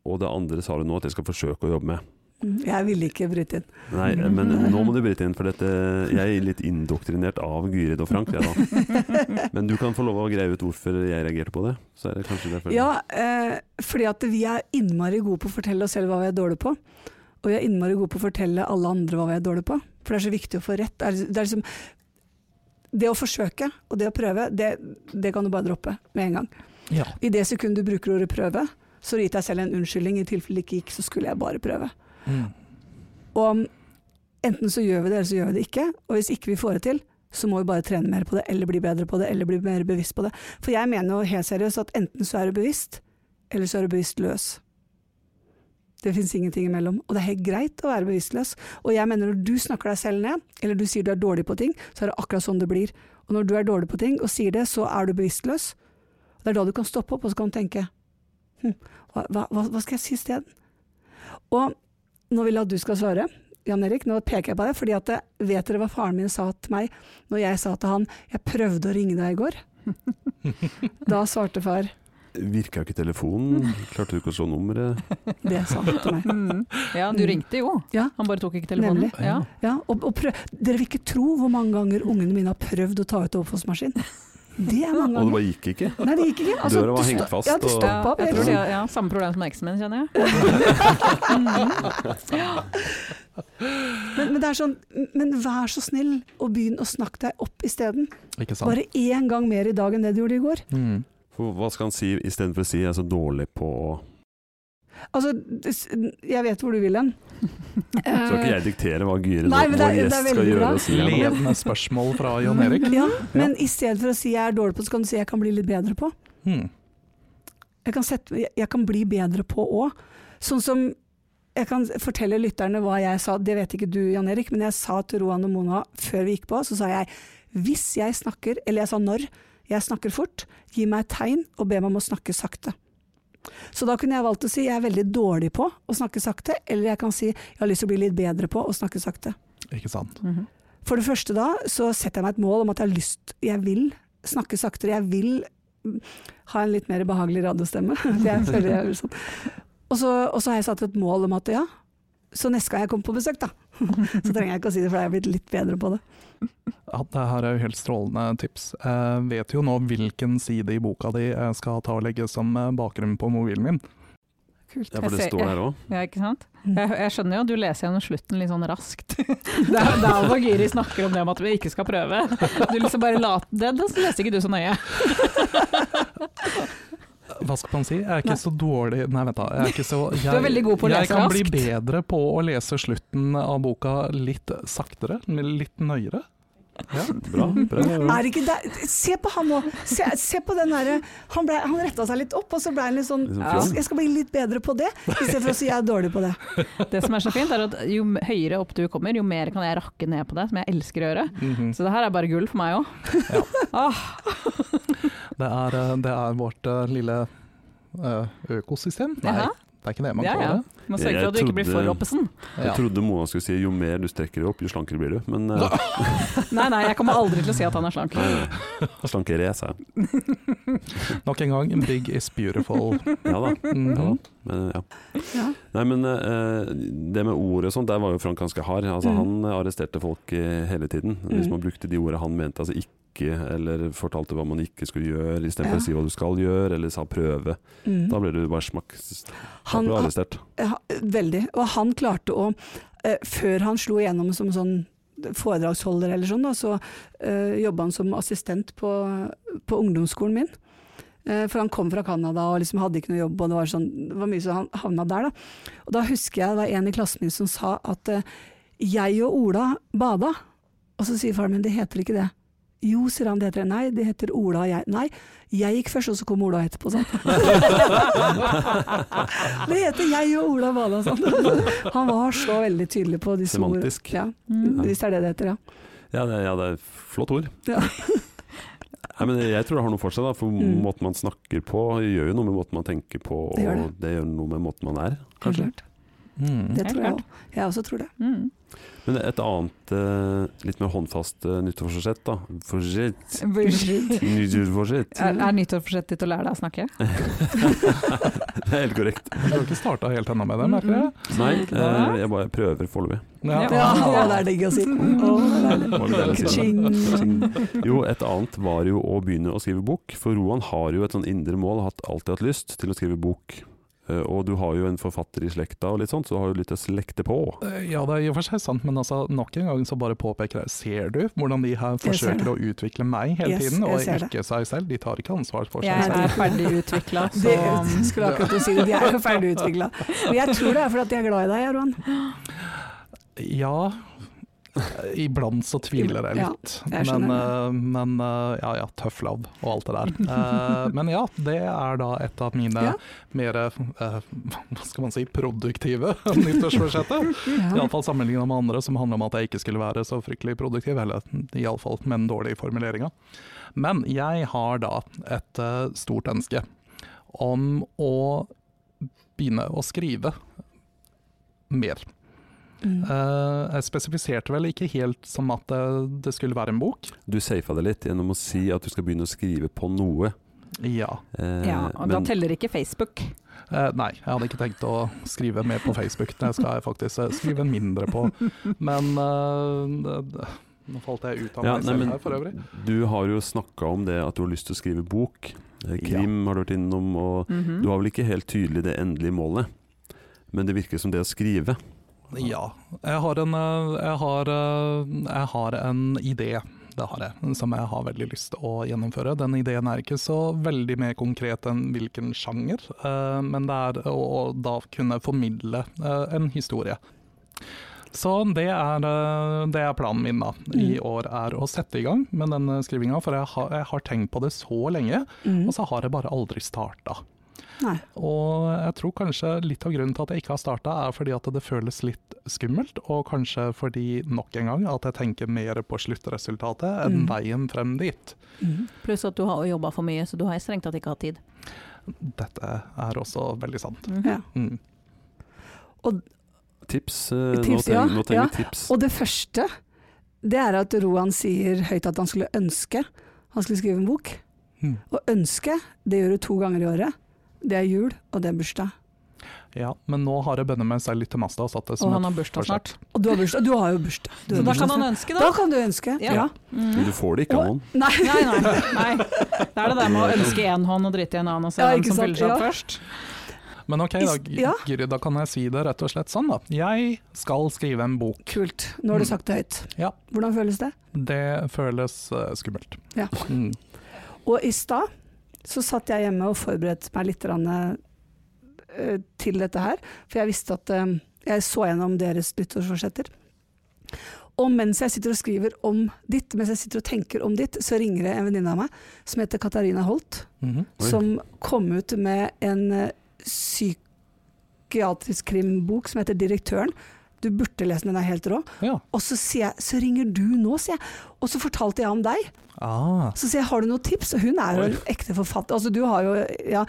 Speaker 1: Og det andre sa du nå at jeg skal forsøke å jobbe med.
Speaker 4: Mm, Jeg ville ikke bryte inn.
Speaker 1: Nei, men nå må du bryte inn, for dette, jeg er litt indoktrinert av Gyrid og Frank. Jeg, da. Men du kan få lov å greie ut hvorfor jeg reagerte på det. Så er det kanskje derfor.
Speaker 4: Ja, eh, fordi at vi er innmari gode på å fortelle oss selv hva vi er dårlige på. Og vi er innmari gode på å fortelle alle andre hva vi er dårlige på. For det er så viktig å få rett. Det, er, det, er liksom, det å forsøke og det å prøve, det, det kan du bare droppe med en gang.
Speaker 2: ja.
Speaker 4: I det sekundet du bruker ordet prøve, så har du gitt deg selv en unnskyldning. I tilfelle det ikke gikk, så skulle jeg bare prøve.
Speaker 2: Mm.
Speaker 4: Og enten så gjør vi det, eller så gjør vi det ikke. Og hvis ikke vi får det til, så må vi bare trene mer på det, eller bli bedre på det, eller bli mer bevisst på det. For jeg mener jo helt seriøst at enten så er du bevisst, eller så er du bevisst løs. Det fins ingenting imellom. Og det er helt greit å være bevisstløs. Og jeg mener når du snakker deg selv ned, eller du sier du er dårlig på ting, så er det akkurat sånn det blir. Og når du er dårlig på ting og sier det, så er du bevisstløs. Det er da du kan stoppe opp og så kan du tenke hm, hva, hva, hva skal jeg si isteden? Og nå vil jeg at du skal svare. Jan Erik, nå peker jeg på deg, fordi at eh, vet dere hva faren min sa til meg når jeg sa til han jeg prøvde å ringe deg i går? Da svarte far
Speaker 1: Virka ikke telefonen? Klarte du ikke å slå nummeret?
Speaker 4: det sa han til meg.
Speaker 3: Mhm. Ja, du ringte jo.
Speaker 4: Ja.
Speaker 3: Han bare tok ikke telefonen.
Speaker 4: Nemlig.
Speaker 3: Ja.
Speaker 4: Ja, og, og prøv, dere vil ikke tro hvor mange ganger ungene mine har prøvd å ta ut overfallsmaskin. Det er mange
Speaker 1: Og det
Speaker 4: ganger.
Speaker 1: bare gikk ikke?
Speaker 4: Nei, det gikk ikke.
Speaker 1: Døra var
Speaker 4: det
Speaker 1: hengt
Speaker 4: sto-
Speaker 1: fast,
Speaker 4: Ja, det
Speaker 1: og-
Speaker 4: stoppa opp. liksom.
Speaker 3: jeg
Speaker 4: Jeg
Speaker 3: tror
Speaker 4: tror
Speaker 3: det er ja, samme problem som eksmenn, kjenner jeg. Mhm.
Speaker 4: Men, men, det er sånn, men vær så snill og begynn å snakke deg opp isteden.
Speaker 2: Ikke sant.
Speaker 4: Bare én gang mer i dag enn det du gjorde i går.
Speaker 2: Mm.
Speaker 1: For hva skal han si istedenfor å si 'jeg er så dårlig på å
Speaker 4: Altså, s- jeg vet hvor du vil hen.
Speaker 1: Så skal ikke jeg diktere hva Gyrid
Speaker 4: Nei,
Speaker 1: vår
Speaker 4: men det er-
Speaker 1: gjest
Speaker 4: det er
Speaker 1: skal
Speaker 4: veldig
Speaker 1: gjøre
Speaker 4: bra.
Speaker 1: og si. her nå.
Speaker 2: Ledende spørsmål fra Jan Erik.
Speaker 4: Ja, men i stedet for å si jeg er dårlig på, så kan du si jeg kan bli litt bedre på.
Speaker 2: Mm.
Speaker 4: Jeg kan, sette, jeg, jeg kan bli bedre på òg. Sånn som jeg kan fortelle lytterne hva jeg sa, det vet ikke du Jan Erik, men jeg sa til Roan og Mona før vi gikk på, så sa jeg hvis jeg snakker, eller jeg sa når, jeg snakker fort, gi meg et tegn og be meg om å snakke sakte. Så da kunne jeg valgt å si jeg er veldig dårlig på å snakke sakte, eller jeg kan si jeg har lyst til å bli litt bedre på å snakke sakte.
Speaker 2: Ikke sant.
Speaker 3: Mhm.
Speaker 4: For det første da, så setter jeg meg et mål om at jeg har lyst, jeg vil snakke saktere, jeg vil mm, ha en litt mer behagelig radiostemme. For jeg føler jeg er sånn. Og så, og så har jeg satt et mål om at ja, så neste gang jeg kommer på besøk da, så trenger jeg ikke å si det, for da er jeg blitt litt bedre på det.
Speaker 2: Ja, det her er jo helt strålende tips. Jeg vet jo nå hvilken side i boka di jeg skal ta og legge som eh, bakgrunn på mobilen min.
Speaker 3: Kult.
Speaker 1: Ja, for det
Speaker 3: Jeg ser-
Speaker 1: står her òg.
Speaker 3: Ja, ikke sant?
Speaker 4: Mm.
Speaker 3: Jeg, jeg skjønner jo at du leser gjennom slutten litt sånn raskt. Det er der hvor Giri snakker om det med at vi ikke skal prøve. Du liksom bare lat, det, det leser ikke du så nøye.
Speaker 2: Hva skal man si? Jeg er ikke
Speaker 3: Nei.
Speaker 2: så dårlig Nei, vent da. Jeg er ikke så jeg,
Speaker 3: er veldig god på å lese
Speaker 2: Jeg kan bli
Speaker 3: raskt.
Speaker 2: bedre på å lese slutten av boka litt saktere, litt nøyere. Ja.
Speaker 1: Bra. bra.
Speaker 4: Er ikke det, se på han nå, se, se på den derre, han, ble- han retta seg litt opp, og så ble han litt sånn,
Speaker 1: Litt sånn
Speaker 4: «Ja,
Speaker 1: fjong.
Speaker 4: jeg skal bli litt bedre på det, i stedet for å si jeg er dårlig på det.
Speaker 3: Det som er så fint, er at jo m- høyere opp du kommer, jo mer kan jeg rakke ned på deg, som jeg elsker å gjøre.
Speaker 2: Mhm.
Speaker 3: Så det her er bare gull for meg òg.
Speaker 2: det, er, eh, det er vårt eh, lille eh, økosystem. Nei,
Speaker 3: Ja,
Speaker 2: det er ikke det man
Speaker 3: ja,
Speaker 2: kaller
Speaker 3: ja.
Speaker 2: det.
Speaker 3: Må sørge
Speaker 1: Jeg
Speaker 3: for at du ikke blir for
Speaker 1: trodde-
Speaker 3: oppesen.
Speaker 1: Jeg
Speaker 2: Ja.
Speaker 1: trodde Mona skulle si 'jo mer du strekker deg opp, jo slankere blir du', men eh,
Speaker 3: Nei, nei, jeg kommer aldri til å si at han er slank.
Speaker 1: nei, nei. slankere jeg, sa jeg.
Speaker 2: Nok en gang, big is beautiful.
Speaker 1: Ja da.
Speaker 2: Mhm.
Speaker 1: Ja, men, eh, ja.
Speaker 4: Ja.
Speaker 1: Nei, men eh, det med ord og sånt, der var jo Frank ganske hard. Altså,
Speaker 4: Mm.
Speaker 1: Han arresterte folk eh, hele tiden hvis
Speaker 4: Mm.
Speaker 1: man brukte de ordene han mente. Altså, ikke ikke, eller fortalte hva man ikke skulle gjøre,
Speaker 4: Ja.
Speaker 1: istedenfor å si hva du skal gjøre, eller sa prøve.
Speaker 4: Mm.
Speaker 1: Da ble du bare smakk... Da
Speaker 4: Han-
Speaker 1: ble du arrestert.
Speaker 4: Ja, Eh, veldig. Og han klarte å eh, Før han slo igjennom som sånn foredragsholder eller sånn, da, så eh, jobba han som assistent på, på ungdomsskolen min. Eh, for han kom fra Canada og liksom hadde ikke noe jobb, og det var, sånn, det var mye som han havna der. Da. Og da husker jeg det var en i klassen min som sa at eh, jeg og Ola bada. Og så sier faren min det heter ikke det. Jo, sier han, det heter det. Nei, det heter Ola og jeg. Nei, jeg gikk først, og så kom Ola etterpå, sånn. Det heter jeg og Ola Bada, sånn. Han var så veldig tydelig på disse ordene.
Speaker 1: Semantisk.
Speaker 4: Ja,
Speaker 3: Mm.
Speaker 4: hvis det er det det heter, ja.
Speaker 1: Ja, det, ja, det er flott ord.
Speaker 4: Ja.
Speaker 1: Nei, men jeg tror det har noe for seg, da, for
Speaker 4: Mm.
Speaker 1: måten man snakker på gjør jo noe med måten man tenker på, og
Speaker 4: Det
Speaker 1: det
Speaker 4: gjør
Speaker 1: gjør,
Speaker 4: det.
Speaker 1: noe med måten man er.
Speaker 4: Helt
Speaker 1: Kanskje.
Speaker 4: klart.
Speaker 2: Mm.
Speaker 4: Det
Speaker 3: Helt
Speaker 4: tror jeg
Speaker 3: klart.
Speaker 4: også. Jeg også tror det.
Speaker 3: Mm.
Speaker 1: Men et annet eh, litt mer håndfast eh, nyttårsforsett, da. Forsett.
Speaker 3: Er,
Speaker 1: Nyttårsforsett.
Speaker 3: er nyttårsforsettet ditt å lære deg å snakke?
Speaker 1: Det er helt korrekt.
Speaker 2: Du har ikke starta helt ennå med det, merker jeg.
Speaker 1: Nei, eh, jeg bare prøver foreløpig.
Speaker 3: Mm-hmm.
Speaker 2: Ja.
Speaker 4: Ja, å, det er digg å si. Å, det er
Speaker 1: Var det det du sa?
Speaker 4: Ching.
Speaker 1: Jo, et annet var jo å begynne å skrive bok, for Roan har jo et sånn indre mål, har hatt- alltid hatt lyst til å skrive bok. Eh, Og du har jo en forfatter i slekta og litt sånt, så du har jo litt å slekte på.
Speaker 2: Eh, Ja, det er i og for seg sant, men altså, nok en gang så bare påpeker jeg Ser du hvordan de her
Speaker 4: Jeg ser det.
Speaker 2: forsøker å utvikle meg hele
Speaker 4: Yes,
Speaker 2: tiden, og
Speaker 4: jeg ser det.
Speaker 2: ikke seg selv? De tar ikke ansvar for seg
Speaker 3: Jeg
Speaker 2: selv.
Speaker 3: er ferdig utvikla,
Speaker 4: Det
Speaker 3: så um,
Speaker 4: skulle jeg akkurat til å si. det. De er jo ferdig utvikla. Men jeg tror det er fordi at de er glad i deg, Roan.
Speaker 2: Ja, eh, iblant så tviler jeg
Speaker 4: Ja,
Speaker 2: litt.
Speaker 4: jeg
Speaker 2: men
Speaker 4: skjønner
Speaker 2: eh, men eh, ja, ja, tøff love og alt det der. Eh, men ja, det er da et av mine
Speaker 4: Ja.
Speaker 2: mer eh, hva skal man si, produktive nyttårsforsetter.
Speaker 4: Ja.
Speaker 2: Iallfall sammenligna med andre som handler om at jeg ikke skulle være så fryktelig produktiv, eller iallfall med den dårlige formuleringa. Men jeg har da et eh, stort ønske om å begynne å skrive mer.
Speaker 4: Mm.
Speaker 2: Eh, jeg spesifiserte vel ikke helt som at eh, det, det skulle være en bok.
Speaker 1: Du safa det litt gjennom å si at du skal begynne å skrive på noe.
Speaker 2: Ja.
Speaker 1: Eh,
Speaker 3: ja, og da
Speaker 1: men
Speaker 3: teller ikke Facebook.
Speaker 2: Eh, nei, jeg hadde ikke tenkt å skrive mer på Facebook. Det skal jeg faktisk eh, skrive mindre på. Men eh, det, det, Nå falt jeg ut av
Speaker 1: Ja,
Speaker 2: meg
Speaker 1: nei,
Speaker 2: selv
Speaker 1: men
Speaker 2: her for øvrig.
Speaker 1: du har jo snakka om det at du har lyst til å skrive bok. Eh, Krim har du vært innom, og
Speaker 3: Mhm.
Speaker 4: Mm.
Speaker 1: du har vel ikke helt tydelig det endelige målet. Men det virker som det å skrive.
Speaker 2: Ja. Jeg har en, eh, jeg har, eh, jeg har en idé, det har jeg, som jeg har veldig lyst til å gjennomføre. Den ideen er ikke så veldig mer konkret enn hvilken sjanger, eh, men det er å, å da kunne formidle eh, en historie. Så det er, eh, det er planen min da, i år, er å sette i gang med denne skrivinga. For jeg har, jeg har tenkt på det så lenge,
Speaker 4: Mm.
Speaker 2: og så har jeg bare aldri starta.
Speaker 4: Nei.
Speaker 2: Og jeg tror kanskje litt av grunnen til at jeg ikke har starta, er fordi at det føles litt skummelt, og kanskje fordi, nok en gang, at jeg tenker mer på sluttresultatet enn
Speaker 4: Mm.
Speaker 2: veien frem dit.
Speaker 4: Mm.
Speaker 3: Pluss at du har jobba for mye, så du har strengt tatt ikke hatt tid.
Speaker 2: Dette er også veldig sant.
Speaker 3: Mhm.
Speaker 4: Ja.
Speaker 2: Mm.
Speaker 1: Tips. eh,
Speaker 4: Tips,
Speaker 1: nå
Speaker 4: ja.
Speaker 1: trenger, nå trenger vi tips.
Speaker 4: Og det første, det er at Roan sier høyt at han skulle ønske han skulle skrive en bok.
Speaker 2: Mm.
Speaker 4: Og ønske, det gjør du to ganger i året. Det er jul, og det er bursdag.
Speaker 2: Ja, men nå har jeg bønnet meg selv litt til masta og satt det
Speaker 3: Og
Speaker 2: som
Speaker 3: han har
Speaker 2: et
Speaker 3: bursdag snart.
Speaker 4: Og du har bursdag. Du har jo bursdag.
Speaker 3: Så
Speaker 4: Du har
Speaker 3: da
Speaker 4: bursdag
Speaker 3: kan han
Speaker 4: snart.
Speaker 3: ønske,
Speaker 4: da
Speaker 3: da.
Speaker 4: kan du ønske.
Speaker 3: Ja.
Speaker 4: Ja.
Speaker 1: Men
Speaker 3: Mhm.
Speaker 1: du får det ikke av noen.
Speaker 4: Nei.
Speaker 3: Nei, nei, nei. Det er det der med å ønske én hånd og drite i en annen og se
Speaker 4: Ja,
Speaker 3: hvem
Speaker 4: ikke
Speaker 3: som
Speaker 4: sant?
Speaker 3: fyller seg opp
Speaker 4: Ja.
Speaker 3: først.
Speaker 2: Men ok, da,
Speaker 4: Is- ja.
Speaker 2: Gyri, da kan jeg si det rett og slett sånn, da. Jeg skal skrive en bok.
Speaker 4: Kult. Nå
Speaker 2: Mm.
Speaker 4: har du sagt det høyt.
Speaker 2: Ja.
Speaker 4: Hvordan føles det?
Speaker 2: Det føles eh, skummelt.
Speaker 4: Ja.
Speaker 2: Mm.
Speaker 4: Og i stad så satt jeg hjemme og forberedte meg litt grann, eh, til dette her, for jeg visste at eh, jeg så gjennom deres nyttårsforsetter. Og mens jeg sitter og skriver om ditt, mens jeg sitter og tenker om ditt, så ringer det en venninne av meg som heter Katarina Holt,
Speaker 2: Mhm.
Speaker 1: Oi.
Speaker 4: som kom ut med en eh, psykiatrisk krimbok som heter 'Direktøren'. Du burde lese den, den er helt rå.
Speaker 2: Ja.
Speaker 4: Og så sier jeg 'så ringer du nå', sier jeg. Og så fortalte jeg om deg.
Speaker 2: Ah.
Speaker 4: Så sier jeg, har du noen tips? Hun er jo en ekte forfatter. Altså, du, har jo, ja,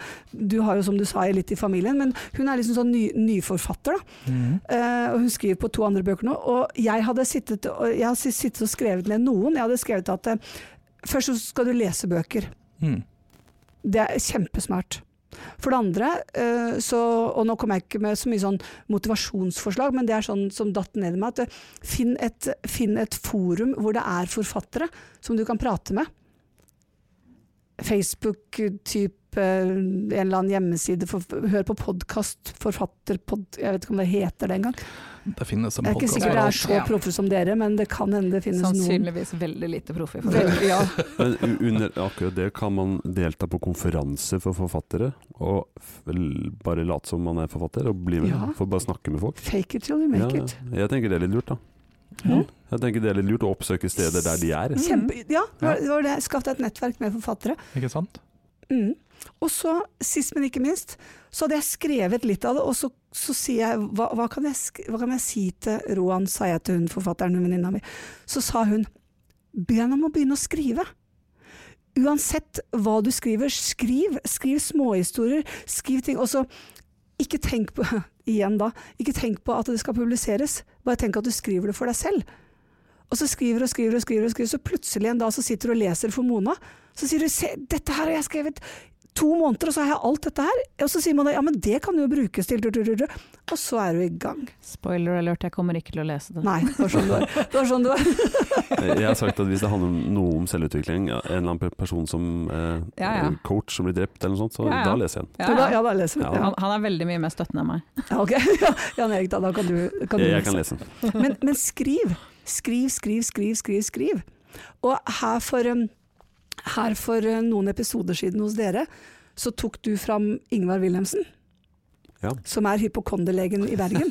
Speaker 4: du har jo, som du sa, litt i familien, men hun er liksom sånn ny, nyforfatter. Da.
Speaker 2: Mhm.
Speaker 4: Eh, og hun skriver på to andre bøker nå. Og jeg hadde sittet og, jeg har sittet og skrevet ned noen. Jeg hadde skrevet at eh, først så skal du lese bøker.
Speaker 2: Mm.
Speaker 4: Det er kjempesmart. For det andre, eh, så, og nå kommer jeg ikke med så mye sånn motivasjonsforslag, men det er sånn som datt ned i meg, at eh, finn et, finn et forum hvor det er forfattere som du kan prate med. Facebook-type, eh, en eller annen hjemmeside, for, hør på podkast, forfatterpod... Jeg vet ikke om det heter det engang.
Speaker 2: Det finnes en
Speaker 4: Jeg er ikke
Speaker 2: podcast
Speaker 4: sikker det
Speaker 2: for
Speaker 4: er så
Speaker 3: Ja.
Speaker 4: proffe som dere, men det kan hende det finnes noen.
Speaker 3: Sannsynligvis veldig lite proffe. i forhold.
Speaker 4: Vel, ja.
Speaker 1: Men u- under akkurat det kan man delta på konferanser for forfattere, og f l- bare late som man er forfatter, og bli med.
Speaker 4: Ja.
Speaker 1: Får bare snakke med folk.
Speaker 4: Fake it till you make
Speaker 1: Ja,
Speaker 4: it.
Speaker 1: ja. jeg tenker det er litt lurt, da.
Speaker 4: Mm.
Speaker 1: Jeg tenker det er litt lurt å oppsøke steder der de er.
Speaker 3: Mm.
Speaker 4: Kjempe, ja, det var- det var det. Skaff deg et nettverk med forfattere.
Speaker 2: det. Ikke sant?
Speaker 4: Mm. Og så, sist men ikke minst, så hadde jeg skrevet litt av det, og så, så sier jeg hva, hva, kan jeg sk hva kan jeg si til Roan, sa jeg til hun forfatteren, venninna mi. Så sa hun be ham om å begynne å skrive. Uansett hva du skriver, skriv. Skriv småhistorier, skriv ting. Og så ikke tenk på igjen da, ikke tenk på at det skal publiseres, bare tenk at du skriver det for deg selv. Og så skriver og skriver og skriver, og skriver så plutselig en dag så sitter du og leser for Mona. Så sier du se, dette her har jeg skrevet to måneder, og så har jeg alt dette her. Og så sier man ja, men det kan jo brukes til du-du-du-du. Og så er du i gang.
Speaker 3: Spoiler alert, jeg kommer ikke til å lese det.
Speaker 4: Nei, det var sånn det var. Det var sånn det var.
Speaker 1: Jeg har sagt at hvis det handler om noe om selvutvikling, ja, en eller annen pe- person som eh,
Speaker 3: Ja, ja.
Speaker 1: en coach som blir drept eller noe sånt, så
Speaker 3: Ja, ja.
Speaker 1: da leser jeg den.
Speaker 3: Ja,
Speaker 4: Ja, da,
Speaker 3: ja.
Speaker 4: ja, da leser vi. Ja.
Speaker 3: Han, han er veldig mye mer støttende enn meg.
Speaker 4: Ja, ok. Ja, Jan Erik, da, da kan du, kan du
Speaker 1: Jeg, jeg kan lese den.
Speaker 4: Men, men skriv. Skriv, skriv, skriv, skriv. skriv. Og her for, um, her for uh, noen episoder siden hos dere, så tok du fram Ingvar Wilhelmsen.
Speaker 1: Ja.
Speaker 4: Som er hypokonderlegen i Bergen.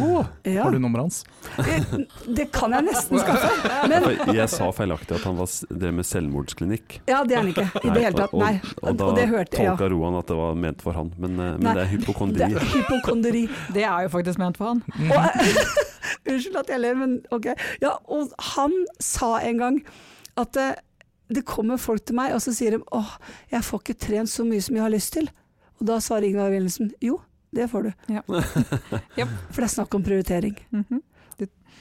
Speaker 2: Åh,
Speaker 4: Ja,
Speaker 2: Har du nummeret hans?
Speaker 4: det, det kan jeg nesten skaffe. Men
Speaker 1: For Jeg sa feilaktig at han var, s- drev med selvmordsklinikk.
Speaker 4: ja, det er han ikke. I det hele tatt. Nei.
Speaker 1: Og, og, og da
Speaker 4: Og det hørte jeg.
Speaker 1: tolka Roan at det var ment for han, men, eh, men
Speaker 4: Nei,
Speaker 1: det er
Speaker 4: Det
Speaker 1: hypokondri.
Speaker 4: er hypokonderi.
Speaker 3: Det er jo faktisk ment for han.
Speaker 1: Mm-hmm.
Speaker 4: Og, unnskyld at jeg ler, men ok. Ja, og han sa en gang at eh, det kommer folk til meg, og så sier de åh, jeg får ikke trent så mye som jeg har lyst til. Og da svarer Ingvar Wilhelmsen jo, det får du.
Speaker 3: Ja. Japp.
Speaker 4: For det er snakk om prioritering.
Speaker 3: Mhm.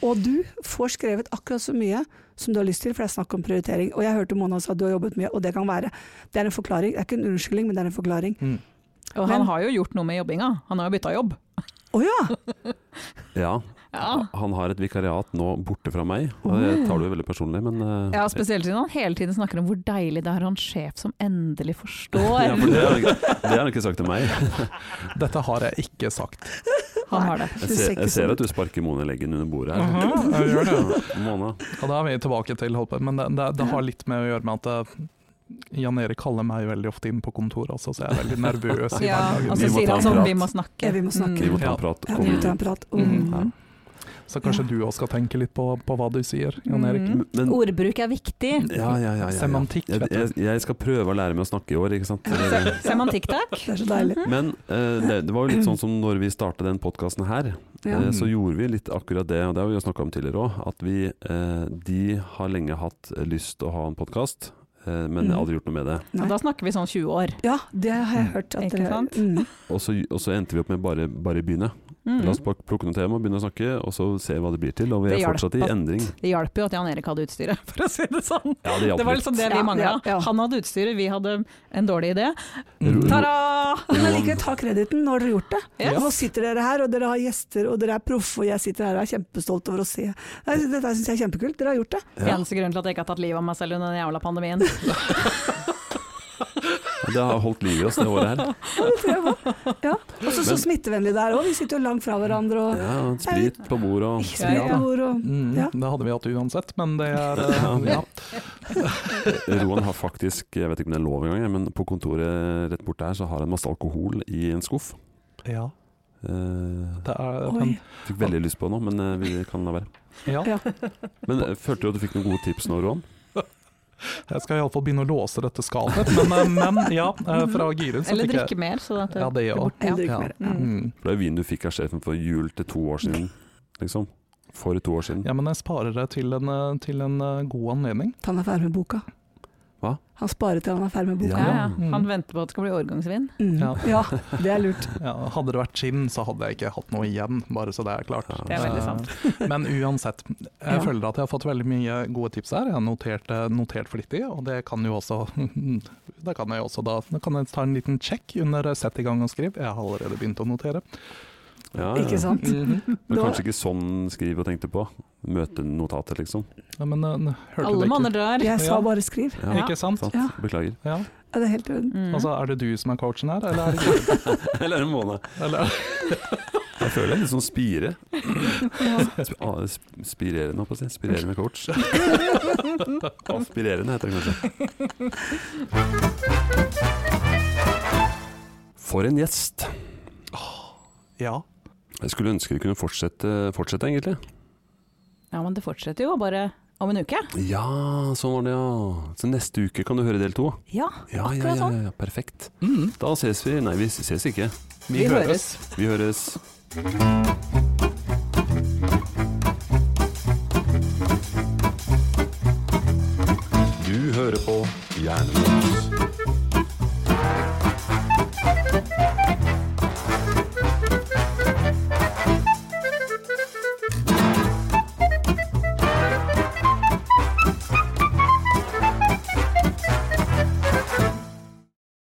Speaker 4: Og du får skrevet akkurat så mye som du har lyst til, for det er snakk om prioritering. Og jeg hørte Mona sa at du har jobbet mye, og det kan være. Det er en forklaring. Det er ikke en unnskyldning, men det er en forklaring.
Speaker 1: Mm.
Speaker 3: Og
Speaker 4: Men-
Speaker 3: han har jo gjort noe med jobbinga. Han har jo bytta jobb.
Speaker 4: Å ja!
Speaker 1: Ja,
Speaker 3: Ja.
Speaker 1: han har et vikariat nå borte fra meg. og Det tar du jo veldig personlig, men eh,
Speaker 3: ja, spesielt siden han hele tiden snakker om hvor deilig det er å ha en sjef som endelig
Speaker 1: ja,
Speaker 3: forstår.
Speaker 1: for det har han ikke- det har han ikke sagt til meg.
Speaker 2: Dette har jeg ikke sagt.
Speaker 3: Han har det.
Speaker 1: Jeg ser,
Speaker 4: Du ser ikke
Speaker 1: jeg ser
Speaker 4: sånn
Speaker 1: at du sparker Mona leggen under bordet her.
Speaker 2: Mhm, jeg gjør det.
Speaker 1: Ja, Mona.
Speaker 2: Og da er vi tilbake til holdt på, men det, det, det har litt med å gjøre med at eh, Jan Erik kaller meg veldig ofte inn på kontoret også, så jeg er veldig nervøs i
Speaker 3: Ja,
Speaker 2: hverdagen.
Speaker 3: og
Speaker 1: Vi
Speaker 3: så
Speaker 1: må
Speaker 3: sier
Speaker 1: ta
Speaker 3: han
Speaker 1: en
Speaker 3: sånn
Speaker 1: prat.
Speaker 3: vi må snakke.
Speaker 4: Ja, vi må snakke.
Speaker 1: Vi må ta
Speaker 3: Mm.
Speaker 2: Ja.
Speaker 1: en prat.
Speaker 4: Ja,
Speaker 1: Kom.
Speaker 4: vi tar en prat. om-
Speaker 3: Mm.
Speaker 1: Ja.
Speaker 2: Så kanskje du også skal tenke litt på, på hva du sier, Jan Erik.
Speaker 3: Mm.
Speaker 1: Men
Speaker 3: Ordbruk er viktig.
Speaker 1: ja, ja, ja, ja, ja.
Speaker 2: Semantikk,
Speaker 1: Jeg,
Speaker 2: vet du.
Speaker 1: jeg, jeg skal prøve å lære meg å snakke i år, ikke sant.
Speaker 3: Se- Semantikk, takk.
Speaker 4: Det er så
Speaker 3: Mhm.
Speaker 4: deilig.
Speaker 1: Men eh, det, det var jo litt sånn som når vi startet den podkasten her,
Speaker 4: Ja.
Speaker 1: eh, så gjorde vi litt akkurat det, og det har vi jo snakka om tidligere òg, at vi eh, de har lenge hatt eh, lyst til å ha en podkast, eh, men
Speaker 3: Mm.
Speaker 4: Mhm.
Speaker 1: aldri gjort noe med det.
Speaker 4: Nei.
Speaker 3: Og da snakker vi sånn 20 år.
Speaker 4: Ja, det har jeg hørt. At
Speaker 3: Ikke
Speaker 4: dere-
Speaker 3: sant?
Speaker 4: Mm.
Speaker 1: Og så, og så endte vi opp med bare, bare begynne.
Speaker 3: Mm.
Speaker 1: La oss bare plukke noen tema, begynne å snakke, og så se hva det blir til. Og vi
Speaker 3: Det
Speaker 1: er
Speaker 3: hjelper
Speaker 1: fortsatt i
Speaker 3: at-
Speaker 1: endring.
Speaker 3: Det hjalp jo at Jan Erik hadde utstyret, for å si det sånn.
Speaker 1: Ja, det
Speaker 3: Det
Speaker 1: hjalp
Speaker 3: var
Speaker 1: litt.
Speaker 3: liksom det
Speaker 4: Ja,
Speaker 3: vi mangla.
Speaker 4: ja, ja.
Speaker 3: Han hadde utstyret, vi hadde en dårlig idé.
Speaker 2: Mm.
Speaker 1: Ro- ro-
Speaker 3: Ta-da!
Speaker 4: Men ikke ta krediten, nå har dere gjort det.
Speaker 3: Ja.
Speaker 4: Nå sitter dere her, og dere har gjester, og dere er proffe, og jeg sitter her og er kjempestolt over å se. Nei, Dette syns jeg er kjempekult, dere har gjort det.
Speaker 1: Ja.
Speaker 3: Eneste grunnen til at jeg ikke har tatt livet av meg selv under den jævla pandemien.
Speaker 1: Det har holdt liv i oss det året her.
Speaker 4: Ja, det tror jeg på. Ja. Og så så
Speaker 1: Men-
Speaker 4: smittevennlig det er òg, vi sitter jo langt fra hverandre og
Speaker 1: Ja, Sprit på bordet og
Speaker 4: ikke smitt
Speaker 3: Ja, ja.
Speaker 4: på bord og
Speaker 2: Mm,
Speaker 4: Ja.
Speaker 2: Det hadde vi hatt uansett, men det er eh, ja.
Speaker 1: Roan har faktisk, jeg vet ikke om det er lov engang, men på kontoret rett borte her så har han masse alkohol i en skuff.
Speaker 2: ja,
Speaker 1: Eh,
Speaker 2: det er, men,
Speaker 4: Oi.
Speaker 1: fikk veldig lyst på nå, men eh, vi kan la være.
Speaker 2: ja.
Speaker 4: Ja.
Speaker 1: Men eh, følte du at du fikk noen gode tips nå, Roan?
Speaker 2: Jeg skal iallfall begynne å låse dette skapet, men, eh, men ja, eh, fra giret så
Speaker 3: Eller
Speaker 2: fikk jeg
Speaker 3: drikke mer. Så at det,
Speaker 2: Ja, det òg.
Speaker 4: Eller drikke
Speaker 2: Ja.
Speaker 4: mer. Ja.
Speaker 2: Mm.
Speaker 1: For det er jo vin du fikk av sjefen for jul til to år siden, liksom. For to år
Speaker 3: Hm.
Speaker 1: siden.
Speaker 2: Ja, men jeg sparer det til en, eh, til en eh, god anledning.
Speaker 4: Til han er ferdig med boka.
Speaker 1: Hva?
Speaker 4: Han sparer til han er ferdig med boka.
Speaker 3: ja, ja.
Speaker 2: Mm.
Speaker 3: Han venter på at det skal bli årgangsvin.
Speaker 4: Mm.
Speaker 2: Ja.
Speaker 4: ja, det er lurt.
Speaker 2: Ja, hadde det vært gin, så hadde jeg ikke hatt noe igjen, bare så det er klart.
Speaker 1: Ja.
Speaker 3: Det er veldig sant.
Speaker 2: Eh, Men uansett, jeg
Speaker 4: Ja.
Speaker 2: eh, føler at jeg har fått veldig mye gode tips her. Jeg har notert, notert flittig, og det kan jo også Da kan jeg også da, da kan jeg ta en liten sjekk under sett i gang og skriv. Jeg har allerede begynt å notere.
Speaker 1: Ja, ja.
Speaker 4: Ikke sant?
Speaker 3: Mhm.
Speaker 1: Det var
Speaker 4: Da-
Speaker 1: kanskje ikke sånn skriv og tenkte på. Møtenotatet, liksom.
Speaker 2: Ja, men eh, hørte
Speaker 3: Alle
Speaker 2: dere
Speaker 3: manner drar.
Speaker 4: Jeg sa
Speaker 2: Ja.
Speaker 4: bare skriv.
Speaker 1: Ja,
Speaker 2: Ikke sant?
Speaker 1: sant?
Speaker 4: Ja.
Speaker 1: Beklager.
Speaker 2: Ja.
Speaker 4: Ja, det er helt i orden.
Speaker 3: Mm.
Speaker 2: Altså, er det du som er coachen her, eller er det ikke?
Speaker 1: Eller en måned.
Speaker 2: Eller,
Speaker 1: Jeg føler jeg er litt sånn spire.
Speaker 4: Ja.
Speaker 1: Sp ah, sp- spirerende, holdt jeg på å si. Spirerende coach. Aspirerende heter det kanskje. For en gjest.
Speaker 2: ja.
Speaker 1: Jeg skulle ønske vi kunne fortsette, fortsette egentlig.
Speaker 3: Ja, men det fortsetter jo bare om en uke.
Speaker 1: Ja, sånn var det, ja. Så neste uke kan du høre del to.
Speaker 3: Ja,
Speaker 1: Ja, ja, ja,
Speaker 3: Akkurat sånn.
Speaker 1: ja, perfekt.
Speaker 2: Mm.
Speaker 1: Da ses vi. Nei, vi ses ikke.
Speaker 2: Vi, høres.
Speaker 1: Vi høres. Du hører på Hjernemos.